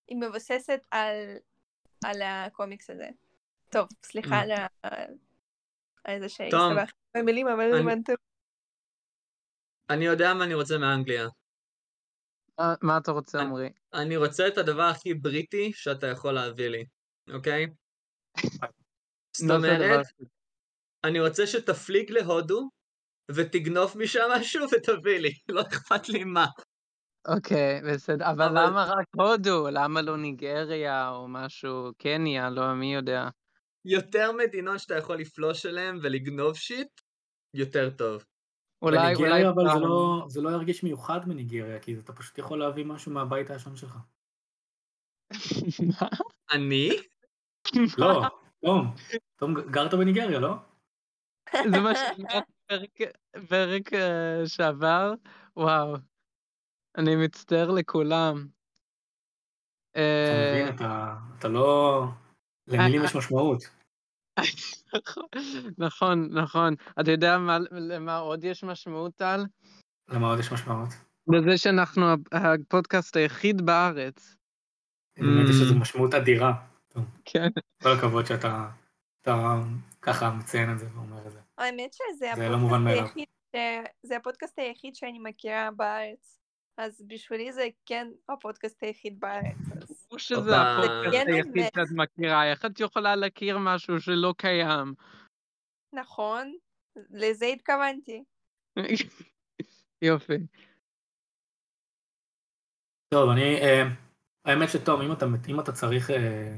היא מבוססת על, על הקומיקס הזה. טוב, Mm. סליחה על ה- על זה שהסתבכתי במילים, אבל אני- הבנתם. אני יודע מה אני רוצה מאנגליה. מה- מה אתה אה, רוצה, אני- עמרי? לא אני רוצה את הדבר הכי בריטי שאתה יכול להביא לי, אוקיי? זאת מה זה הדבר אומרת, הזה? אני רוצה שתפליג להודו ותגנוב משם משהו ותביא לי, לא אכפת לי מה. אוקיי, בסדר. אבל אבל- למה רק הודו? למה לא ניגריה או משהו? קניה, לא, מי יודע. יותר מדינות שאתה יכול לפלוש אליהן ולגנוב שיט, יותר טוב. אולי, אולי... בניגריה, אבל זה פעם. לא- זה לא ירגיש מיוחד מניגריה, כי אתה פשוט יכול להביא משהו מהבית הישן שלך. מה? אני? לא, תום. תום, גרת בניגריה, לא? זה מה שאמרתי בפרק- בפרק אה, שעבר, וואו. אני מצטער לכולם. אתה אה, מבין, אתה- אתה לא... למילים יש משמעות. נכון, נכון. אתה יודע מה- למה עוד יש משמעות, טל? למה עוד יש משמעות? Mm. לזה שאנחנו הפודקאסט היחיד בארץ. באמת יש לזה משמעות אדירה. כן. כל הכבוד שאתה אתה ככה מציין את זה ואומר את זה. האמת שזה זה לא מובן מאליו. היחיד, ש- זה הפודקאסט היחיד שאני מכירה בארץ. אז בשבילי זה כן הפודקאסט היחיד בארץ. אז- ברור שזה הופה. הפודקאסט כן, היחיד באמת. שאת מכירה. איך את יכולה להכיר משהו שלא קיים? נכון, לזה התכוונתי. יופי. טוב, אני... אה, האמת שתום, אם אתה, אם אתה צריך אה,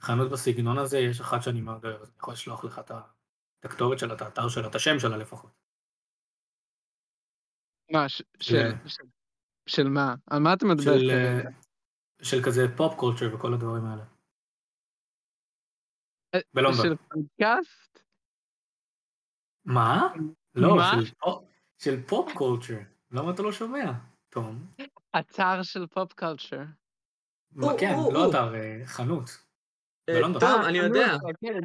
חנות בסגנון הזה, יש אחת שאני מאוד אוהב, אז אני יכול לשלוח לך את ה- את הכתובת שלה, את האתר שלה, את השם שלה לפחות. מה, ש- כן. של- של- של מה? על מה אתה מדבר? של, אה, של כזה פופ קולצ'ר וכל הדברים האלה. אה, בלונדון. של פודקאסט? מה? לא, מה? של פופ- של פופ קולצ'ר. למה אתה לא שומע, תום? אתר של פופ קולצ'ר. מה, או, כן, או, לא או. אתר, אה, חנות. אה, בלונדון. טוב, אני יודע.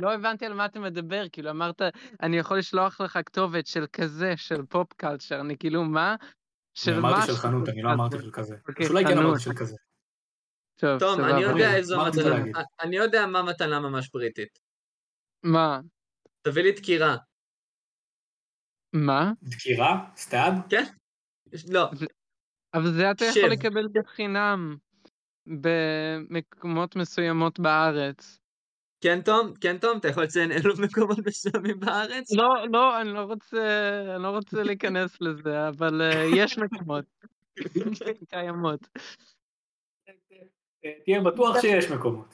לא הבנתי על מה אתה מדבר, כאילו אמרת, אני יכול לשלוח לך כתובת של כזה, של פופ קולצ'ר, אני כאילו, מה? אני אמרתי מה של חנות, אני לא אמרתי של כזה. אוקיי, שאולי כן חנות. אמרתי של כזה. טוב, תום, אני סבבה. יודע מה איזו רצית מתנה, להגיד? א- אני יודע מה מתנה ממש בריטית. מה? תביא לי דקירה. מה? דקירה? סטאב? יש- לא, אבל זה אתה יכול שב. לקבל בחינם במקומות מסוימות בארץ. כן תום, כן תום, אתה יכול לציין אילו מקומות מסוימים בארץ? לא, לא, אני לא רוצה, אני לא רוצה להיכנס לזה, אבל אה, יש מקומות. קיימות. אה, תהיה בטוח שיש מקומות.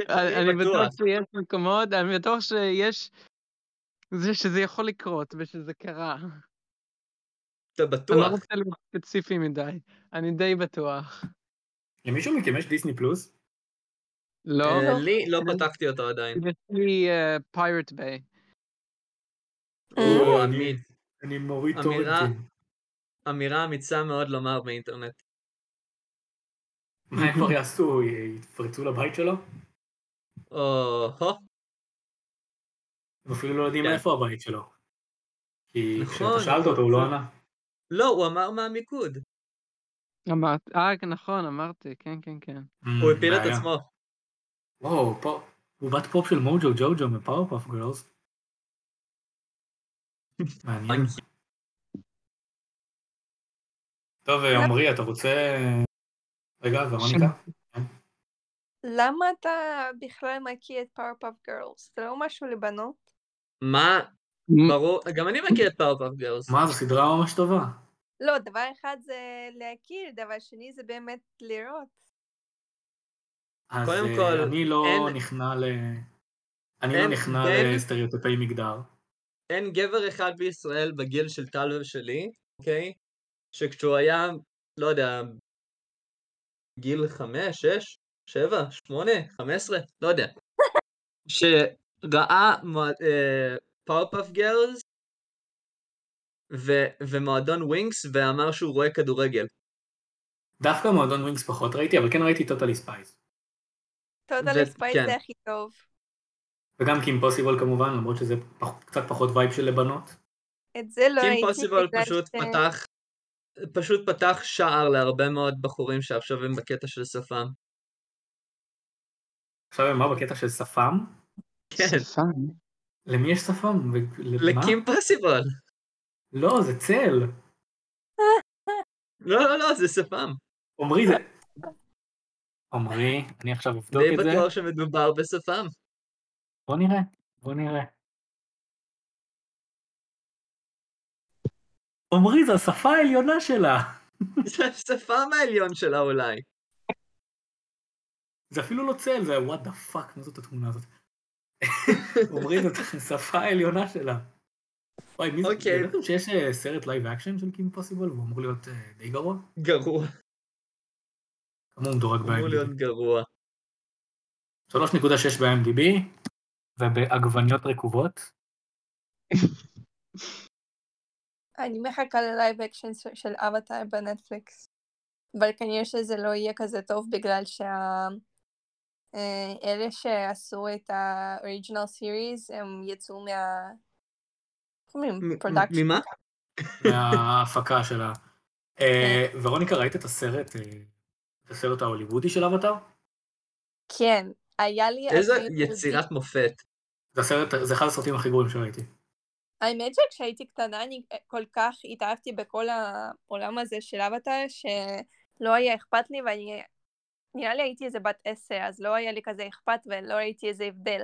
אני אני לא, אני בטוח בטוח. שיש מקומות, אני בטוח שיש... זה שזה יכול לקרות ושזה קרה. אתה אני לא בטוח. רוצה להיות ספציפי מדי, אני די בטוח. למישהו מכם יש דיסני פלוס? לא? אה, אה, לי לא אני- פתחתי אותו עדיין. יש לי פיירט ביי. אה. או, אני- עמית. אני מוריד אמירה. טורנטים. אמירה אמיצה מאוד לומר באינטרנט. מה הם כבר יעשו? י- יתפרצו לבית שלו? או-הו, הם אפילו לא יודעים כן. איפה הבית שלו. כי נכון, כשאתה שאלת אותו הוא לא ענה. לא, הוא אמר מהמיקוד. Mm, אמרת, אה, נכון, אמרתי, כן, כן, כן. הוא הפיל את בעיה. עצמו. וואו, פה- בובת פופ של מוג'ו ג'וג'ו מפאורפאף גרלס. מעניין. טוב, אה, עמרי, אתה רוצה... רגע, ורוניקה? למה אתה בכלל מכיר את פאורפאפ גרלס? זה לא משהו לבנות? מה? ברור, גם אני מכיר את פאורפאפ גרס. מה, זו סדרה ממש טובה. לא, דבר אחד זה להכיר, דבר שני זה באמת לראות. אז קודם אה, כל, אני לא אין- נכנע ל... אני לא אין נכנע בין- לסטריאוטיפי מגדר. אין גבר אחד בישראל בגיל של טל ושלי, אוקיי? שכשהוא היה, לא יודע, גיל חמש, שש, שבע, שמונה, חמש עשרה, לא יודע. שראה אה, פאורפאף גרלס ומועדון ווינקס ואמר שהוא רואה כדורגל. דווקא מועדון ווינקס פחות ראיתי, אבל כן ראיתי טוטלי ספייס. טוטל זה- ספייס כן. זה הכי טוב. וגם קים פוסיבול כמובן, למרות שזה פח- קצת פחות וייב של לבנות. את זה לא קים ראיתי פוסיבול בגלל פשוט ש- פתח, פשוט פתח שער להרבה מאוד בחורים שעכשיו הם בקטע של שפם. עכשיו הם מה בקטע של שפם? כן, למי יש שפם? ו- למה? לקים פוסיבול. לא, זה צל. לא, לא, לא, זה שפם. עמרי זה... עמרי, אני עכשיו אבדוק די את לא זה. בטוח שמדובר בשפם. בוא נראה, בוא נראה. עמרי, זו השפה העליונה שלה. זה השפם העליון שלה אולי. זה אפילו לא צל, זה וואט דה פאק, מה זאת התמונה הזאת? עמרי, זאת השפה העליונה שלה. וואי, מי זה? אוקיי. אתם יודעים שיש אה, סרט לייב אקשן של קים פוסיבול, והוא אמור להיות אה, די גרוע? גרוע. כמה הוא מדורג אמור ב-IMDb? להיות גרוע. 3.6 ב-IMDb, ובעגבניות רקובות. אני מחכה ללייב אקשן ש- של אבטאר בנטפליקס. אבל כנראה שזה לא יהיה כזה טוב בגלל שה... אה, אלה שעשו את ה-original series הם יצאו מה... איך אומרים? מ- production. ממה? מההפקה שלה. אה, כן. ורוניקה, ראית את הסרט, אה, את הסרט ההוליוודי של אבטאר? כן, היה לי... איזה אפילו- יצירת מופת. זה הסרט, זה אחד הסרטים הכי גרועים שראיתי. האמת שכשהייתי קטנה אני אה, כל כך התאהבתי בכל העולם הזה של אבטאר שלא היה אכפת לי ואני נראה לי הייתי איזה בת עשר אז לא היה לי כזה אכפת ולא ראיתי איזה הבדל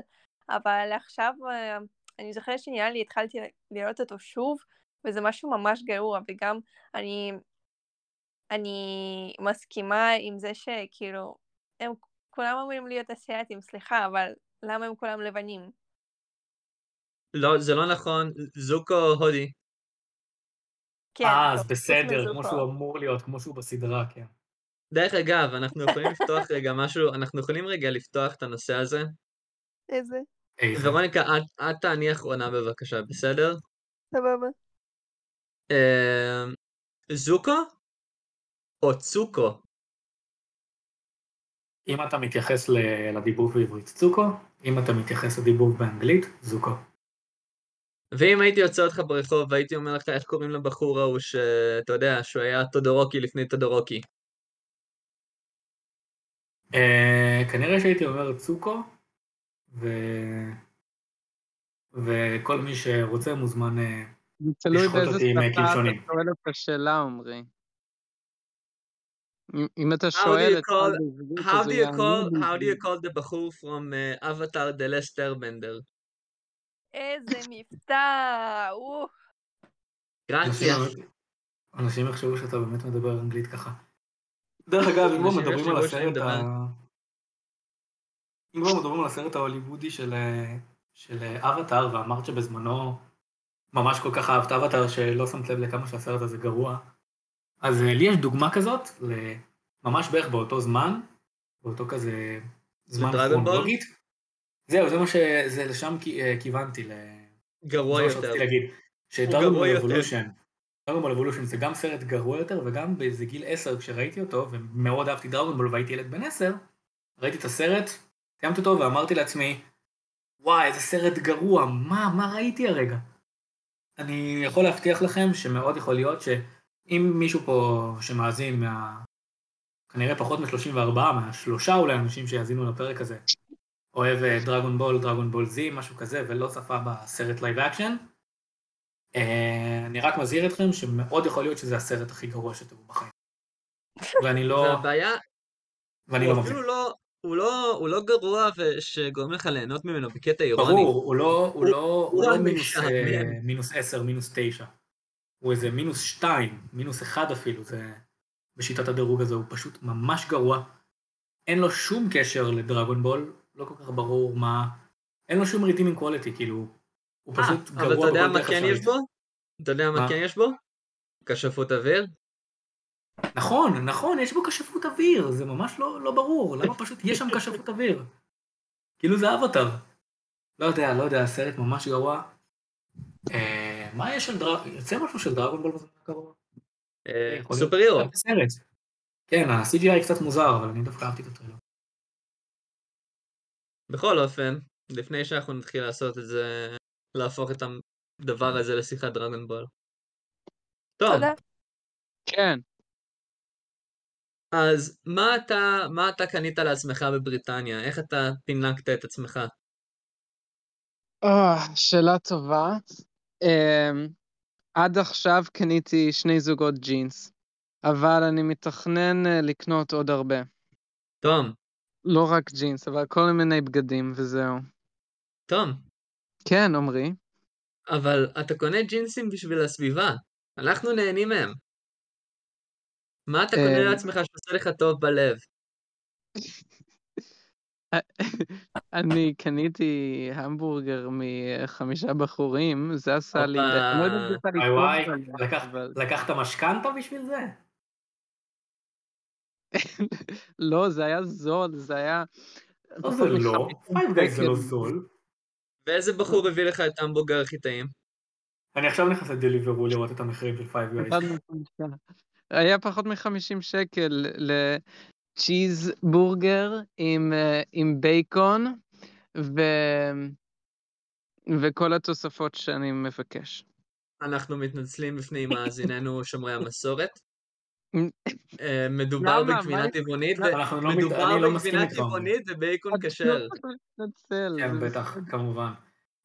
אבל עכשיו אה, אני זוכרת שנראה לי התחלתי לראות אותו שוב וזה משהו ממש גרוע וגם אני אני מסכימה עם זה שכאילו הם כולם אמורים להיות אסיאתים, סליחה, אבל למה הם כולם לבנים? לא, זה לא נכון, זוקו הודי. כן, אה, טוב, אז חוץ בסדר, כמו מזוקו. שהוא אמור להיות, כמו שהוא בסדרה, כן. דרך אגב, אנחנו יכולים לפתוח רגע משהו, אנחנו יכולים רגע לפתוח את הנושא הזה? איזה, היי, ורוניקה, את- את תעני אחרונה בבקשה, בסדר? סבבה. אמ, זוקו או צוקו? אם אתה מתייחס ל- לדיבוב בעברית צוקו, אם אתה מתייחס לדיבוב באנגלית, זוקו. ואם הייתי יוצא אותך ברחוב והייתי אומר לך איך קוראים לבחור ההוא שאתה יודע, שהוא היה טודורוקי לפני טודורוקי. אה, כנראה שהייתי אומר צוקו, ו... וכל מי שרוצה מוזמן... אה, זה תלוי לשחוט באיזה אותי עם אה, שפה קלשונים. אתה שואל את השאלה, עמרי. אם- אם אתה do שואל you את טל call- בעברית, How אז do הוא you יענה call, how do you בעברית. call the בחור from uh, Avatar the Last Airbender? איזה מבטא, אוף. גרציה. אנשים- אנשים יחשבו שאתה באמת מדבר אנגלית ככה. דרך אגב, אם כבר אנשים מדברים על יחשבו שאני הסרט ה... מדבר. אם כבר מדברים על הסרט ההוליוודי של, אה, של אה, אבטאר, ואמרת שבזמנו ממש כל כך אהבת אבטאר, שלא שמת לב לכמה שהסרט הזה גרוע, אז אה, לי יש דוגמה כזאת, ל- ממש בערך באותו זמן, באותו כזה זמן לדרגון בול? כרונולוגית. זהו, זה מה ש... זה לשם כי- אה, כיוונתי, ל... גרוע זה מה יותר. שרציתי להגיד, גרוע שדרגון יותר. אבולושן, דרגון אבולושן זה גם סרט גרוע יותר וגם באיזה גיל 10 כשראיתי אותו ומאוד אהבתי דרגון בול והייתי ילד בן 10, ראיתי את הסרט, סיימתי אותו ואמרתי לעצמי, וואי איזה סרט גרוע, מה, מה ראיתי הרגע? אני יכול להבטיח לכם שמאוד יכול להיות שאם מישהו פה שמאזין מה... כנראה פחות מ-34, מהשלושה אולי אנשים שיאזינו לפרק הזה, אוהב אה, דרגון בול, דרגון בול זי, משהו כזה, ולא צפה בסרט לייב אקשן. אה, אני רק מזהיר אתכם שמאוד יכול להיות שזה הסרט הכי גרוע שתראו בחיים. ואני לא, והבעיה, ואני הוא לא מבין. אפילו לא, הוא לא, הוא לא גרוע ושגורם לך ליהנות ממנו בקטע אירוני. ברור, הוא לא, הוא לא, הוא לא הוא מינוס, המשעמם. אה, מינוס 10, מינוס 9. הוא איזה מינוס 2, מינוס 1 אפילו, זה... בשיטת הדירוג הזה, הוא פשוט ממש גרוע. אין לו שום קשר לדרגון בול, לא כל כך ברור מה... אין לו שום ריטימינג קואליטי, כאילו, הוא אה, פשוט גרוע אבל אתה יודע בכל מה דרך כן יש אפשרית. בו? אתה יודע מה מה? כן יש בו? כשפות אוויר? נכון, נכון, יש בו כשפות אוויר, זה ממש לא, לא ברור, למה פשוט יש שם כשפות אוויר? כאילו זה אבטאר. לא יודע, לא יודע, הסרט ממש גרוע. אה, מה יש של דרג... יוצא משהו של דרגון בול בזמן הקרוב? אה, יכול להיות. סופר הירו. סרט. כן, ה-CGI קצת מוזר, אבל אני דווקא אהבתי את הטרילר. בכל אופן, לפני שאנחנו נתחיל לעשות את זה, להפוך את הדבר הזה לשיחת דרגון בול. טוב, תודה. כן. אז מה אתה, מה אתה קנית לעצמך בבריטניה? איך אתה פינקת את עצמך? אה, שאלה טובה. אמ, עד עכשיו קניתי שני זוגות ג'ינס, אבל אני מתכנן אה, לקנות עוד הרבה. תום, לא רק ג'ינס, אבל כל מיני בגדים וזהו. תום, כן, עמרי. אבל אתה קונה ג'ינסים בשביל הסביבה. אנחנו נהנים מהם. מה אתה קונה אה, לעצמך שעושה לך טוב בלב? אני קניתי המבורגר מחמישה בחורים, זה עשה לי... הופה. אני לא יודע אם זה עשה לי וואי וואי, טוב, אבל- לקח- אבל- לקחת משכנתה בשביל זה? לא, זה היה זול, זה היה... לא, זה לא. פייב דייז זה לא זול. ואיזה בחור הביא לך את ההמבורגר הכי טעים? אני עכשיו נכנס לדליברו לראות את המחירים של פייב דייז. אחד מחמישה. היה פחות מ-50 שקל לצ'יז בורגר עם, אה, עם בייקון ו... וכל התוספות שאני מבקש. אנחנו מתנצלים בפני מאזיננו שומרי המסורת. אה, מדובר למה? מה בגבינה יש- טבעונית, ו- אנחנו לא, מת- אני מדובר לא מסכים בגבינה איתך. לא עומרי. טבעונית ובייקון כשר. מתנצל. כן, בטח, כמובן.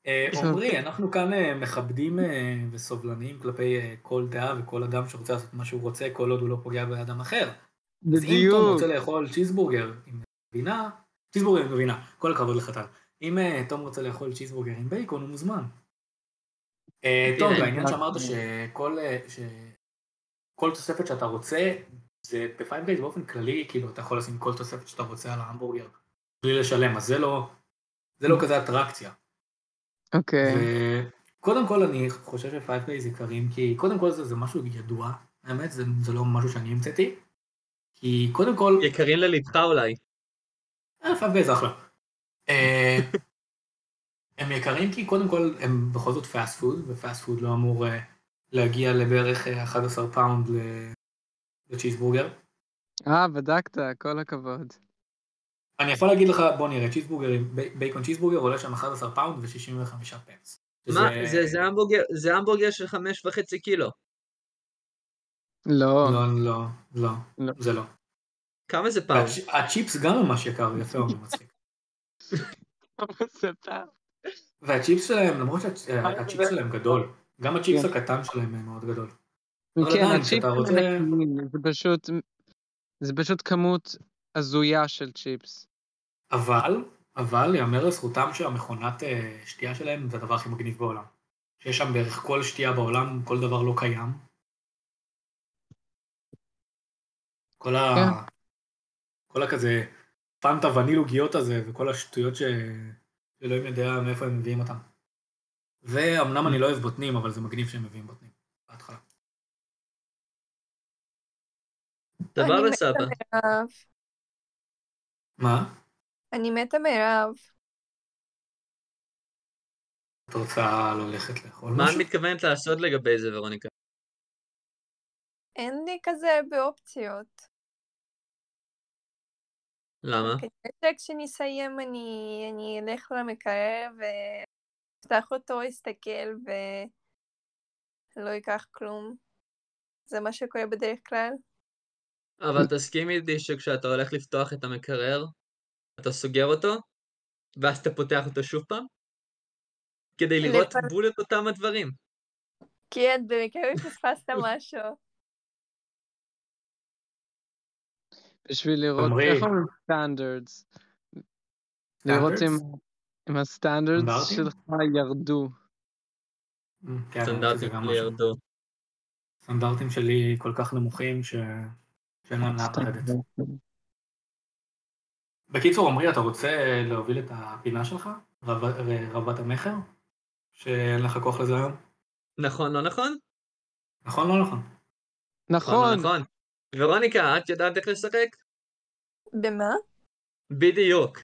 אה, בסדר. עמרי, אנחנו כאן אה, מכבדים אה, וסובלניים כלפי אה, כל דעה וכל אדם שרוצה לעשות מה שהוא רוצה, כל עוד הוא לא פוגע באדם אחר. אז אם תום בדיוק. רוצה לאכול צ'יזבורגר עם גבינה, צ'יזבורגר עם גבינה, כל הכבוד לך טל. אם אה, תום רוצה לאכול צ'יזבורגר עם בייקון, הוא מוזמן. אה, תום, תראה, בעניין כן, רק- שאמרת שכל אה, ש- כל תוספת שאתה רוצה, זה בפייב גייז באופן כללי, כאילו אתה יכול לשים כל תוספת שאתה רוצה על ההמבורגר בלי לשלם, אז זה לא, זה לא כזה אטרקציה. אוקיי. קודם כל אני חושב שפייב גייז יקרים, כי קודם כל זה, זה משהו ידוע, האמת, זה, זה לא משהו שאני המצאתי, כי קודם כל... יקרים ללבך אולי. אה, פייב גייז אחלה. אה, הם יקרים כי קודם כל הם בכל זאת פאסט פוד, ופאסט פוד לא אמור אה, להגיע לבערך אה, 11 פאונד ל- לצ'יזבורגר. אה, בדקת, כל הכבוד. אני יכול להגיד לך, בוא נראה, צ'יזבורגרים, ב- בייקון צ'יזבורגר עולה שם 11 פאונד ו-65 פנס. מה, זה- זה המבורגר- זה המבורגר של חמש וחצי קילו. לא. לא, לא, לא, לא. זה לא. כמה זה פעם? והצ'- הצ'יפס גם ממש יקר, יפה, הוא מצחיק. זה פעם. והצ'יפס שלהם, למרות שהצ'יפס שלהם גדול, גם הצ'יפס הקטן שלהם אה, מאוד גדול. אבל כן, עדיין, הצ'יפס כשאתה רוצה- מנקמים, זה פשוט, זה פשוט כמות הזויה של צ'יפס. אבל, אבל יאמר לזכותם שהמכונת אה, שתייה שלהם זה הדבר הכי מגניב בעולם. שיש שם בערך כל שתייה בעולם, כל דבר לא קיים. כל ה... כן. כל הכזה פנטה וניל עוגיות הזה, וכל השטויות ש... שאלוהים יודע מאיפה הם מביאים אותם. ואמנם אני לא אוהב בוטנים, אבל זה מגניב שהם מביאים בוטנים. בהתחלה. אני דבר מתה לסבא. מרעב. מה? אני מתה מרעב. את רוצה ללכת לאכול מה משהו? את מתכוונת לעשות לגבי זה, ורוניקה? אין לי כזה הרבה אופציות. למה? אוקיי. כנראה שכשנסיים אני, אני אלך למקרר ואפתח אותו, אסתכל ולא אקח כלום. זה מה שקורה בדרך כלל. אבל תסכימי איתי שכשאתה הולך לפתוח את המקרר, אתה סוגר אותו, ואז אתה פותח אותו שוב פעם, כדי לראות לפעמים. בול את אותם הדברים. כן, במקרה פספסת משהו. בשביל לראות, תמריץ. איך אומרים סטנדרטס? לראות אם- אם הסטנדרטס סטנדרטים? שלך ירדו. Mm, כן, האמת שזה סטנדרטים גם שלי משהו. ירדו. הסטנדרטים שלי כל כך נמוכים ש... שאין להם לאן לרדת. נכון. בקיצור, עמרי, אתה רוצה להוביל את הפינה שלך? רב... ר- רבת המכר? שאין לך כוח לזה היום? נכון, לא נכון? נכון, לא נכון. לא נכון, נכון. ורוניקה, את יודעת איך לשחק? במה? בדיוק.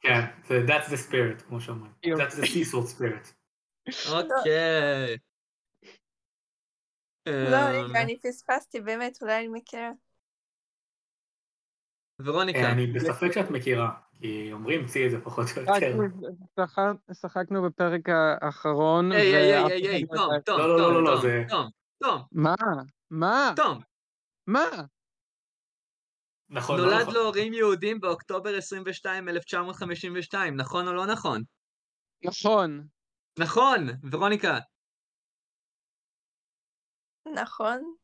כן, זה that's the spirit, כמו שאומרים. יופי. that's the seasword spirit. אוקיי. לא, אמ, רגע, אני פספסתי באמת, אולי אני מכירה. אה, ורוניקה, אני בספק שאת מכירה, כי אומרים צי את זה פחות או אה, כן. יותר. שחק- שחקנו בפרק האחרון. היי, היי, ואף היי, אחד היי, היי, לא תום, יודע- תום, אה, לא, לא, לא, תום, לא, תום, זה- תום, תום, מה? מה? תום, מה? נכון, לא נולד נכון. להורים יהודים באוקטובר 22, 1952, נכון או לא נכון? נכון. נכון, ורוניקה. נכון?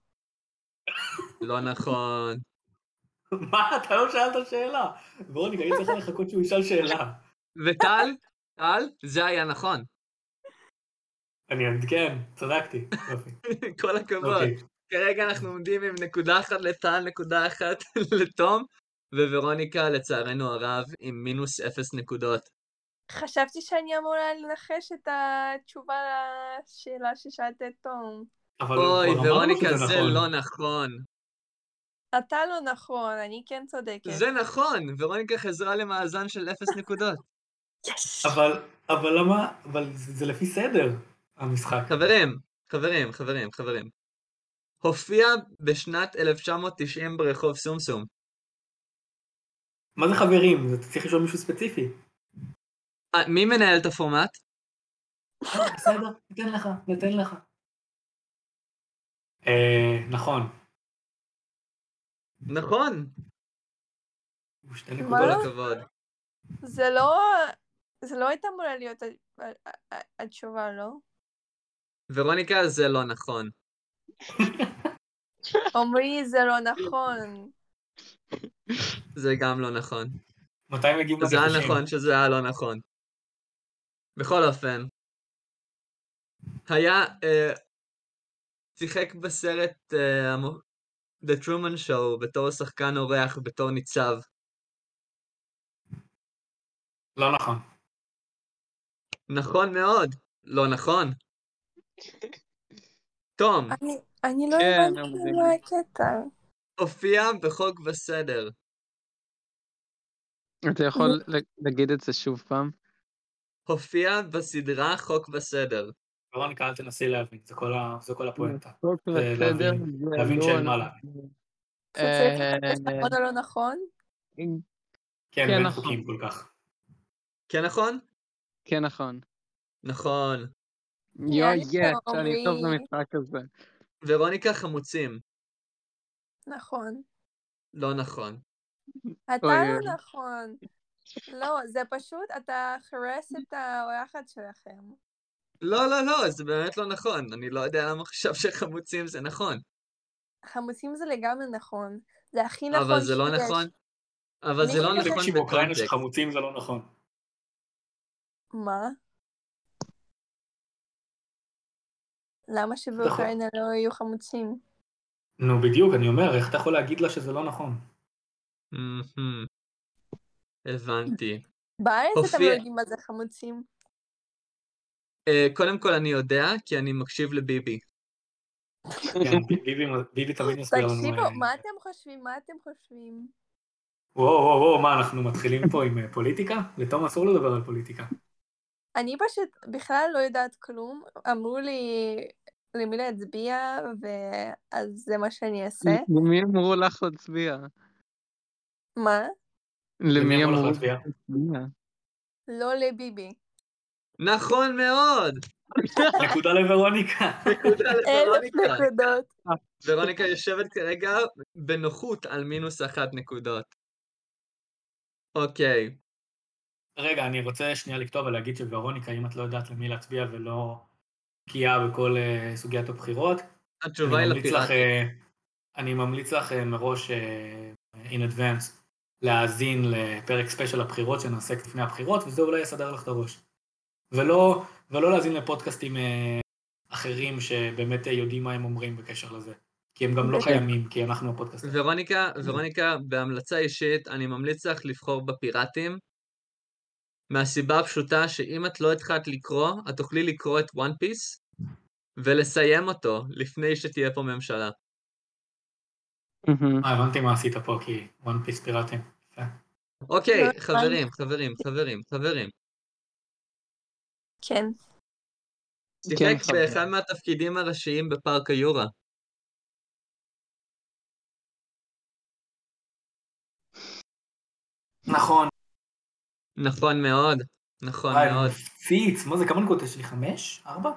לא נכון. מה, אתה לא שאלת שאלה. ורוניקה, אני צריך לחכות שהוא ישאל שאלה. וטל, טל, זה היה נכון. אני כן, צדקתי. יופי. כל הכבוד. אוקיי. כרגע אנחנו עומדים עם נקודה אחת לטל, נקודה אחת לתום, וורוניקה, לצערנו הרב, עם מינוס אפס נקודות. חשבתי שאני אמורה לנחש את התשובה לשאלה ששאלת את תום. אבל אוי, כבר אמרנו ורוניקה, שזה זה נכון. לא נכון. אתה לא נכון, אני כן צודקת. זה נכון, ורוניקה חזרה למאזן של אפס נקודות. יש! אבל, אבל למה, אבל זה, זה לפי סדר, המשחק. חברים, חברים, חברים, חברים. הופיע בשנת 1990 ברחוב סומסום. מה זה חברים? זה- אתה צריך לשאול מישהו ספציפי. אה, מי מנהל את הפורמט? אה, בסדר, ניתן לך, ניתן לך. אה, נכון. נכון, הוא שתי מה? נקודות. כל הכבוד. זה לא... זה לא הייתה אמורה להיות ה- ה- ה- התשובה, לא? ורוניקה, זה לא נכון. עמרי, זה לא נכון. זה גם לא נכון. מתי מגיעים זה היה לנחשים? נכון שזה היה לא נכון. בכל אופן, היה, אה, שיחק בסרט אה, המו- The Truman Show בתור שחקן אורח, בתור ניצב. לא נכון. נכון מאוד. לא נכון. תום, אני- אני לא כן, הבנתי אבל זה- מה הקטע. הופיע בחוק וסדר. אתה יכול ל- להגיד את זה שוב פעם? הופיע בסדרה חוק וסדר. ורוניקה, אל תנסי לא להבין, זה כל ה- זה כל הפואנטה. חוק להבין- וסדר זה להבין לא שאין מה נכון. שצריך אה, לחפש נכון או לא נכון? כן, כן, אין נכון. חוקים כל כך. כן נכון? כן, נכון. נכון. יו, אני יס, פה, אני טוב עמרי. במשחק הזה. ורוניקה חמוצים. נכון. לא נכון. אתה אוי, לא אוי. נכון. לא, זה פשוט, אתה חרס את האורחת שלכם. לא, לא, לא, זה באמת לא נכון. אני לא יודע למה חשב שחמוצים זה נכון. חמוצים זה לגמרי נכון. זה הכי נכון אבל זה לא שיש. נכון. אבל אני זה לא חושבת נכון תקשיב, אוקראינה של בקונטקסט. חמוצים זה לא נכון. מה? למה שבאוקראינה לא יהיו חמוצים? נו, בדיוק, אני אומר, איך אתה יכול להגיד לה שזה לא נכון? מהמם. הבנתי. בארץ אתם לא הופיע- יודעים מה זה חמוצים. אה, קודם כל אני יודע, כי אני מקשיב לביבי. כן, ביבי- ביבי תמיד מסביר לנו... תקשיבו, אה, מה אתם חושבים? מה אתם חושבים? וואו, וואו, וואו, מה, אנחנו מתחילים פה עם אה, פוליטיקה? לתום אסור לדבר על פוליטיקה. אני פשוט בכלל לא יודעת כלום. אמרו לי למי להצביע, ואז זה מה שאני אעשה. למי אמרו לך להצביע? מה? למי לך אמרו להצביע? להצביע? לא לביבי. נכון מאוד! נקודה לוורוניקה. נקודה אלף לוורוניקה. נקודות. ורוניקה יושבת כרגע בנוחות על מינוס אחת נקודות. אוקיי, רגע, אני רוצה שנייה לקטוע ולהגיד שוורוניקה, אם את לא יודעת למי להצביע ולא בקיאה בכל אה, סוגיית הבחירות, התשובה היא אני ממליץ לפיראט. לך, אה, אני ממליץ לך אה, מראש, אה, in advance, להאזין לפרק ספיישל הבחירות שנעשה לפני הבחירות, וזה אולי יסדר לך את הראש. ולא, ולא להאזין לפודקאסטים אה, אחרים שבאמת אה, יודעים מה הם אומרים בקשר לזה. כי הם גם לא בטח. קיימים, כי אנחנו הפודקאסט. אה, ורוניקה, ורוניקה, בהמלצה אישית, אני ממליץ לך לבחור בפיראטים, מהסיבה הפשוטה שאם את לא התחלת לקרוא, את תוכלי לקרוא את וואן פיס, ולסיים אותו לפני שתהיה פה ממשלה. מהמם. אה, הבנתי מה עשית פה, כי one piece פיראטים. אוקיי, לא חברים, חברים, חברים, חברים. כן. כן, שיחק חברים. באחד מהתפקידים הראשיים בפארק היורה. נכון. נכון מאוד, נכון וואי, מאוד. מפציץ. אה, מה זה, כמה נקודות יש לי? חמש? ארבע?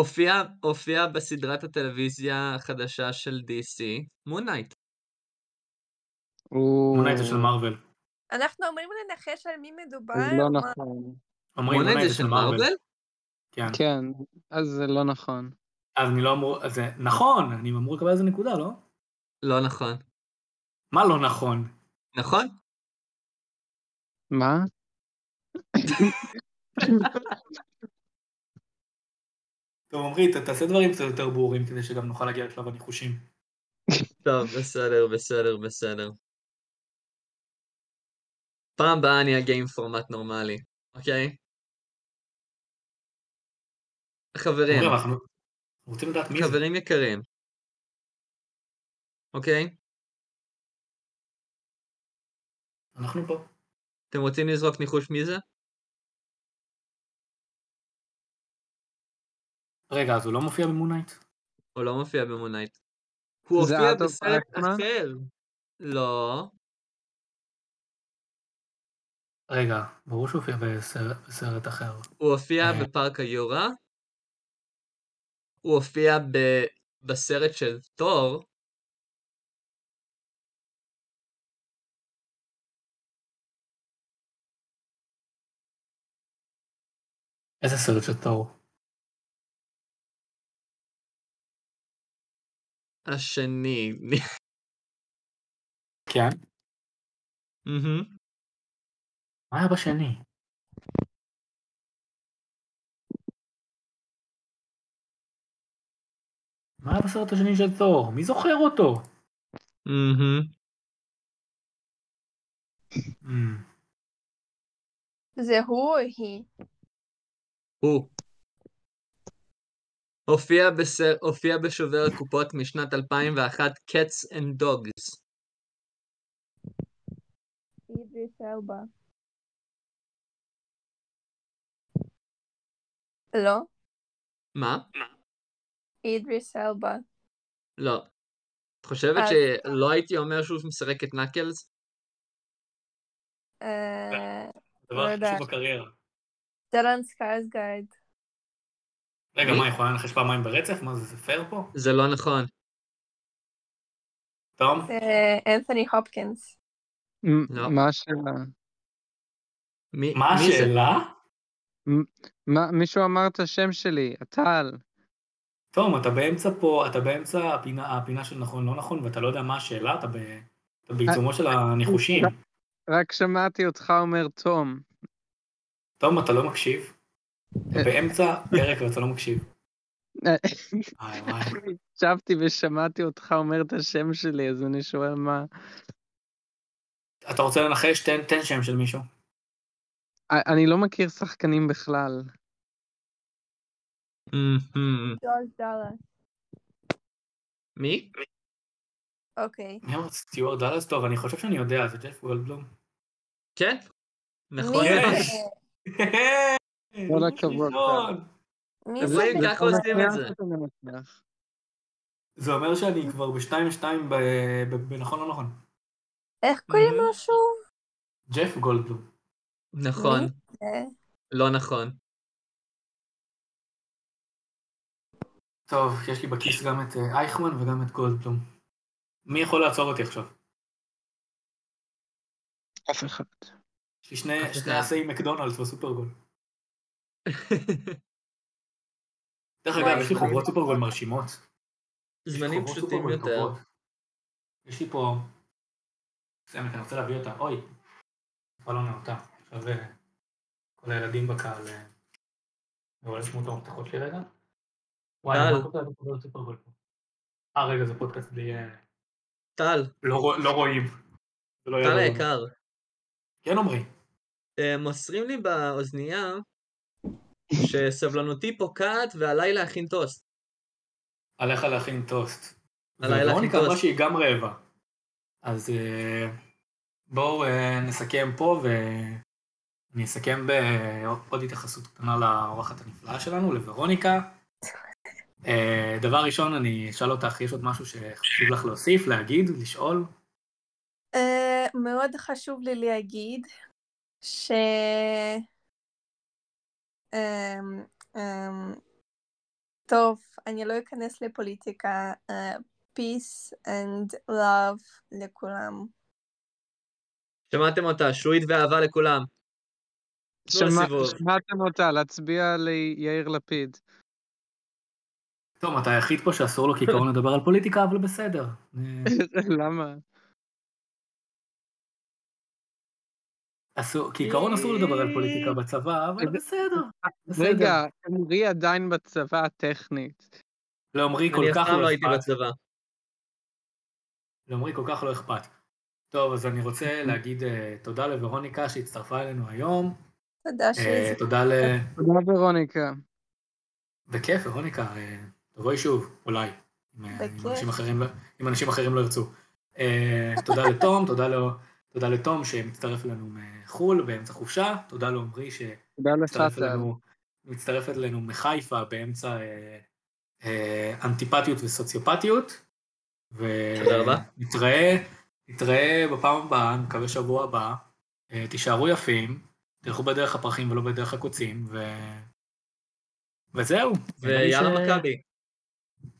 הופיע, הופיע בסדרת הטלוויזיה החדשה של DC, מונייט. מונייט זה של מארוול. אנחנו אמורים לנחש על מי מדובר. זה לא מה- נכון. אומרים מונייט זה של מרוויל? כן. כן, אז זה לא נכון. אז אני לא אמור, אז זה נכון, אני אמור לקבל איזה נקודה, לא? לא נכון. מה לא נכון? נכון? מה? טוב, עמרי, ת- תעשה דברים קצת יותר ברורים כדי שגם נוכל להגיע לשלב הניחושים. טוב, בסדר, בסדר, בסדר. פעם באה אני אגיע עם פורמט נורמלי, אוקיי? חברים, עמרי, אנחנו רוצים לדעת מי אוקיי, זה. חברים יקרים, אוקיי? אנחנו פה. אתם רוצים לזרוק ניחוש מי זה? רגע, אז הוא לא מופיע במונייט? הוא לא מופיע במונייט. הוא זה הופיע אדולף בסרט אייכמן? אחר. לא. רגע, ברור שהוא הופיע בסרט- בסרט אחר. הוא הופיע אה. בפארק היורה, הוא הופיע ב... בסרט של תור, איזה סרט של תור? השני. כן? מהמם. מה היה בשני? מה היה בסרט השני של תור? מי זוכר אותו? מהמם. אמ, זה הוא או היא? הוא. הופיע, בסר... הופיע בשובר הקופות משנת 2001, Cats and Dogs. אידריס אלבה. לא, מה? Mm. אידריס אלבה. לא. את חושבת אז- שלא הייתי אומר שהוא משחק את נקלס? אה, הדבר לא הכי יודעת. חשוב בקריירה. דלן סקייסגרד. רגע, מי? מה, היא יכולה לנחש פעמיים ברצף? מה זה, זה פייר פה? זה לא נכון. תום? זה אנת'וני הופקינס. מ- לא. מה השאלה? מי, מה מי זה? השאלה? מה- מישהו אמר את השם שלי, הטל. תום, אתה באמצע פה, אתה באמצע הפינה, הפינה של נכון, לא נכון, ואתה לא יודע מה השאלה, אתה, ב, אתה בעיצומו אה, של הניחושים. רק שמעתי אותך אומר תום. תום, אתה לא מקשיב. אתה אה. באמצע פרק ואתה לא מקשיב. וואי, וואי. הקשבתי ושמעתי אותך אומר את השם שלי, אז אני שואל מה... אתה רוצה לנחש? תן, תן שם של מישהו. א- אני לא מכיר שחקנים בכלל. מהמם. ג'ורג' דאלאס. מי? אוקיי. מי אמר סטיוארט דאלאס? טוב, אני חושב שאני יודע, זה ג'ף גולדבלום. כן? נכון. מי יש. זה? כל הכבוד. נכון. מי אז זה? רגע, ככה עושים את זה. זה אומר שאני כבר ב-2-2 בנכון לא נכון. איך קוראים לו שוב? ג'ף גולדבלום. נכון. מי זה? לא נכון. טוב, יש לי בכיס גם את אה, אייכמן וגם את גולדבלום. מי יכול לעצור אותי עכשיו? אף אחד. יש לי שני- אף שני אחד. עשי מקדונלדס בסופרגול. דרך אגב, יש לי חוברות סופרגול מרשימות. יש לי זמנים חוברות פשוטים סופרגול יותר. טובות. יש לי פה... סיימת, אני רוצה להביא אותה. אוי, כבר לא נאותה. עכשיו אה, כל הילדים בקהל... אה, אבל ישמו את המפתחות שלי רגע. וואי, טל. אני רוצה להביא חוברות סופרגול פה. אה, רגע, זה פודקאסט בלי... אה, טל, לא רוא- לא רואים. זה לא טל יעזור לנו. היקר, כן, עמרי. אה, מוסרים לי באוזנייה שסבלנותי פוקעת ועליי להכין טוסט. עליך להכין טוסט. עליי להכין ורוניקה אמרה טוסט. שהיא גם רעבה. אז אה, בואו אה, נסכם פה, ואני אסכם בעוד התייחסות קטנה לאורחת הנפלאה שלנו, לוורוניקה. אה, דבר ראשון, אני אשאל אותך, יש עוד משהו שחשוב לך להוסיף, להגיד, לשאול? אה, מאוד חשוב לי להגיד ש... אמ, אמ, טוב, אני לא אכנס לפוליטיקה. אה, peace and love לכולם. שמעתם אותה, שועית ואהבה לכולם. תנו שמע- לסיבוב. שמעתם אותה, להצביע ליאיר לפיד. טוב, אתה היחיד פה שאסור לו כעיקרון לדבר על פוליטיקה, אבל בסדר. אה, למה? אסור- כעיקרון אסור לדבר על פוליטיקה בצבא, אבל בסדר. בסדר. רגע, עמרי עדיין בצבא הטכנית. לעמרי כל אני אף כך פעם לא לא הייתי אכפת. בצבא. לעמרי כל כך לא אכפת. טוב, אז אני רוצה להגיד אה, תודה לוורוניקה שהצטרפה אלינו היום. תודה אה, שהזמנתם. תודה ל... תודה ורוניקה. בכיף, ורוניקה, אה, תבואי שוב, אולי. אם, אה, אם בכיף. אנשים אחרים לא- אם אנשים אחרים לא ירצו. אה, תודה לתום, תודה לו... תודה לתום שמצטרף אלינו מחו"ל באמצע חופשה, תודה לעמרי תודה לך, שמצטרף טל. אלינו, מצטרף אלינו מחיפה באמצע אה, אה, אנטיפתיות וסוציופתיות. תודה רבה. ונתראה, נתראה בפעם הבאה, אני מקווה שבוע הבא. אה, תישארו יפים, תלכו בדרך הפרחים ולא בדרך הקוצים, ו... וזהו. נראה לי ויאללה ש- מכבי.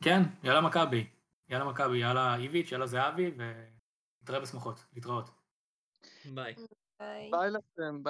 כן, יאללה מכבי. יאללה מכבי, יאללה איביץ', יאללה זהבי, ונתראה בשמחות. להתראות. ביי. ביי. ביי לכם. ביי.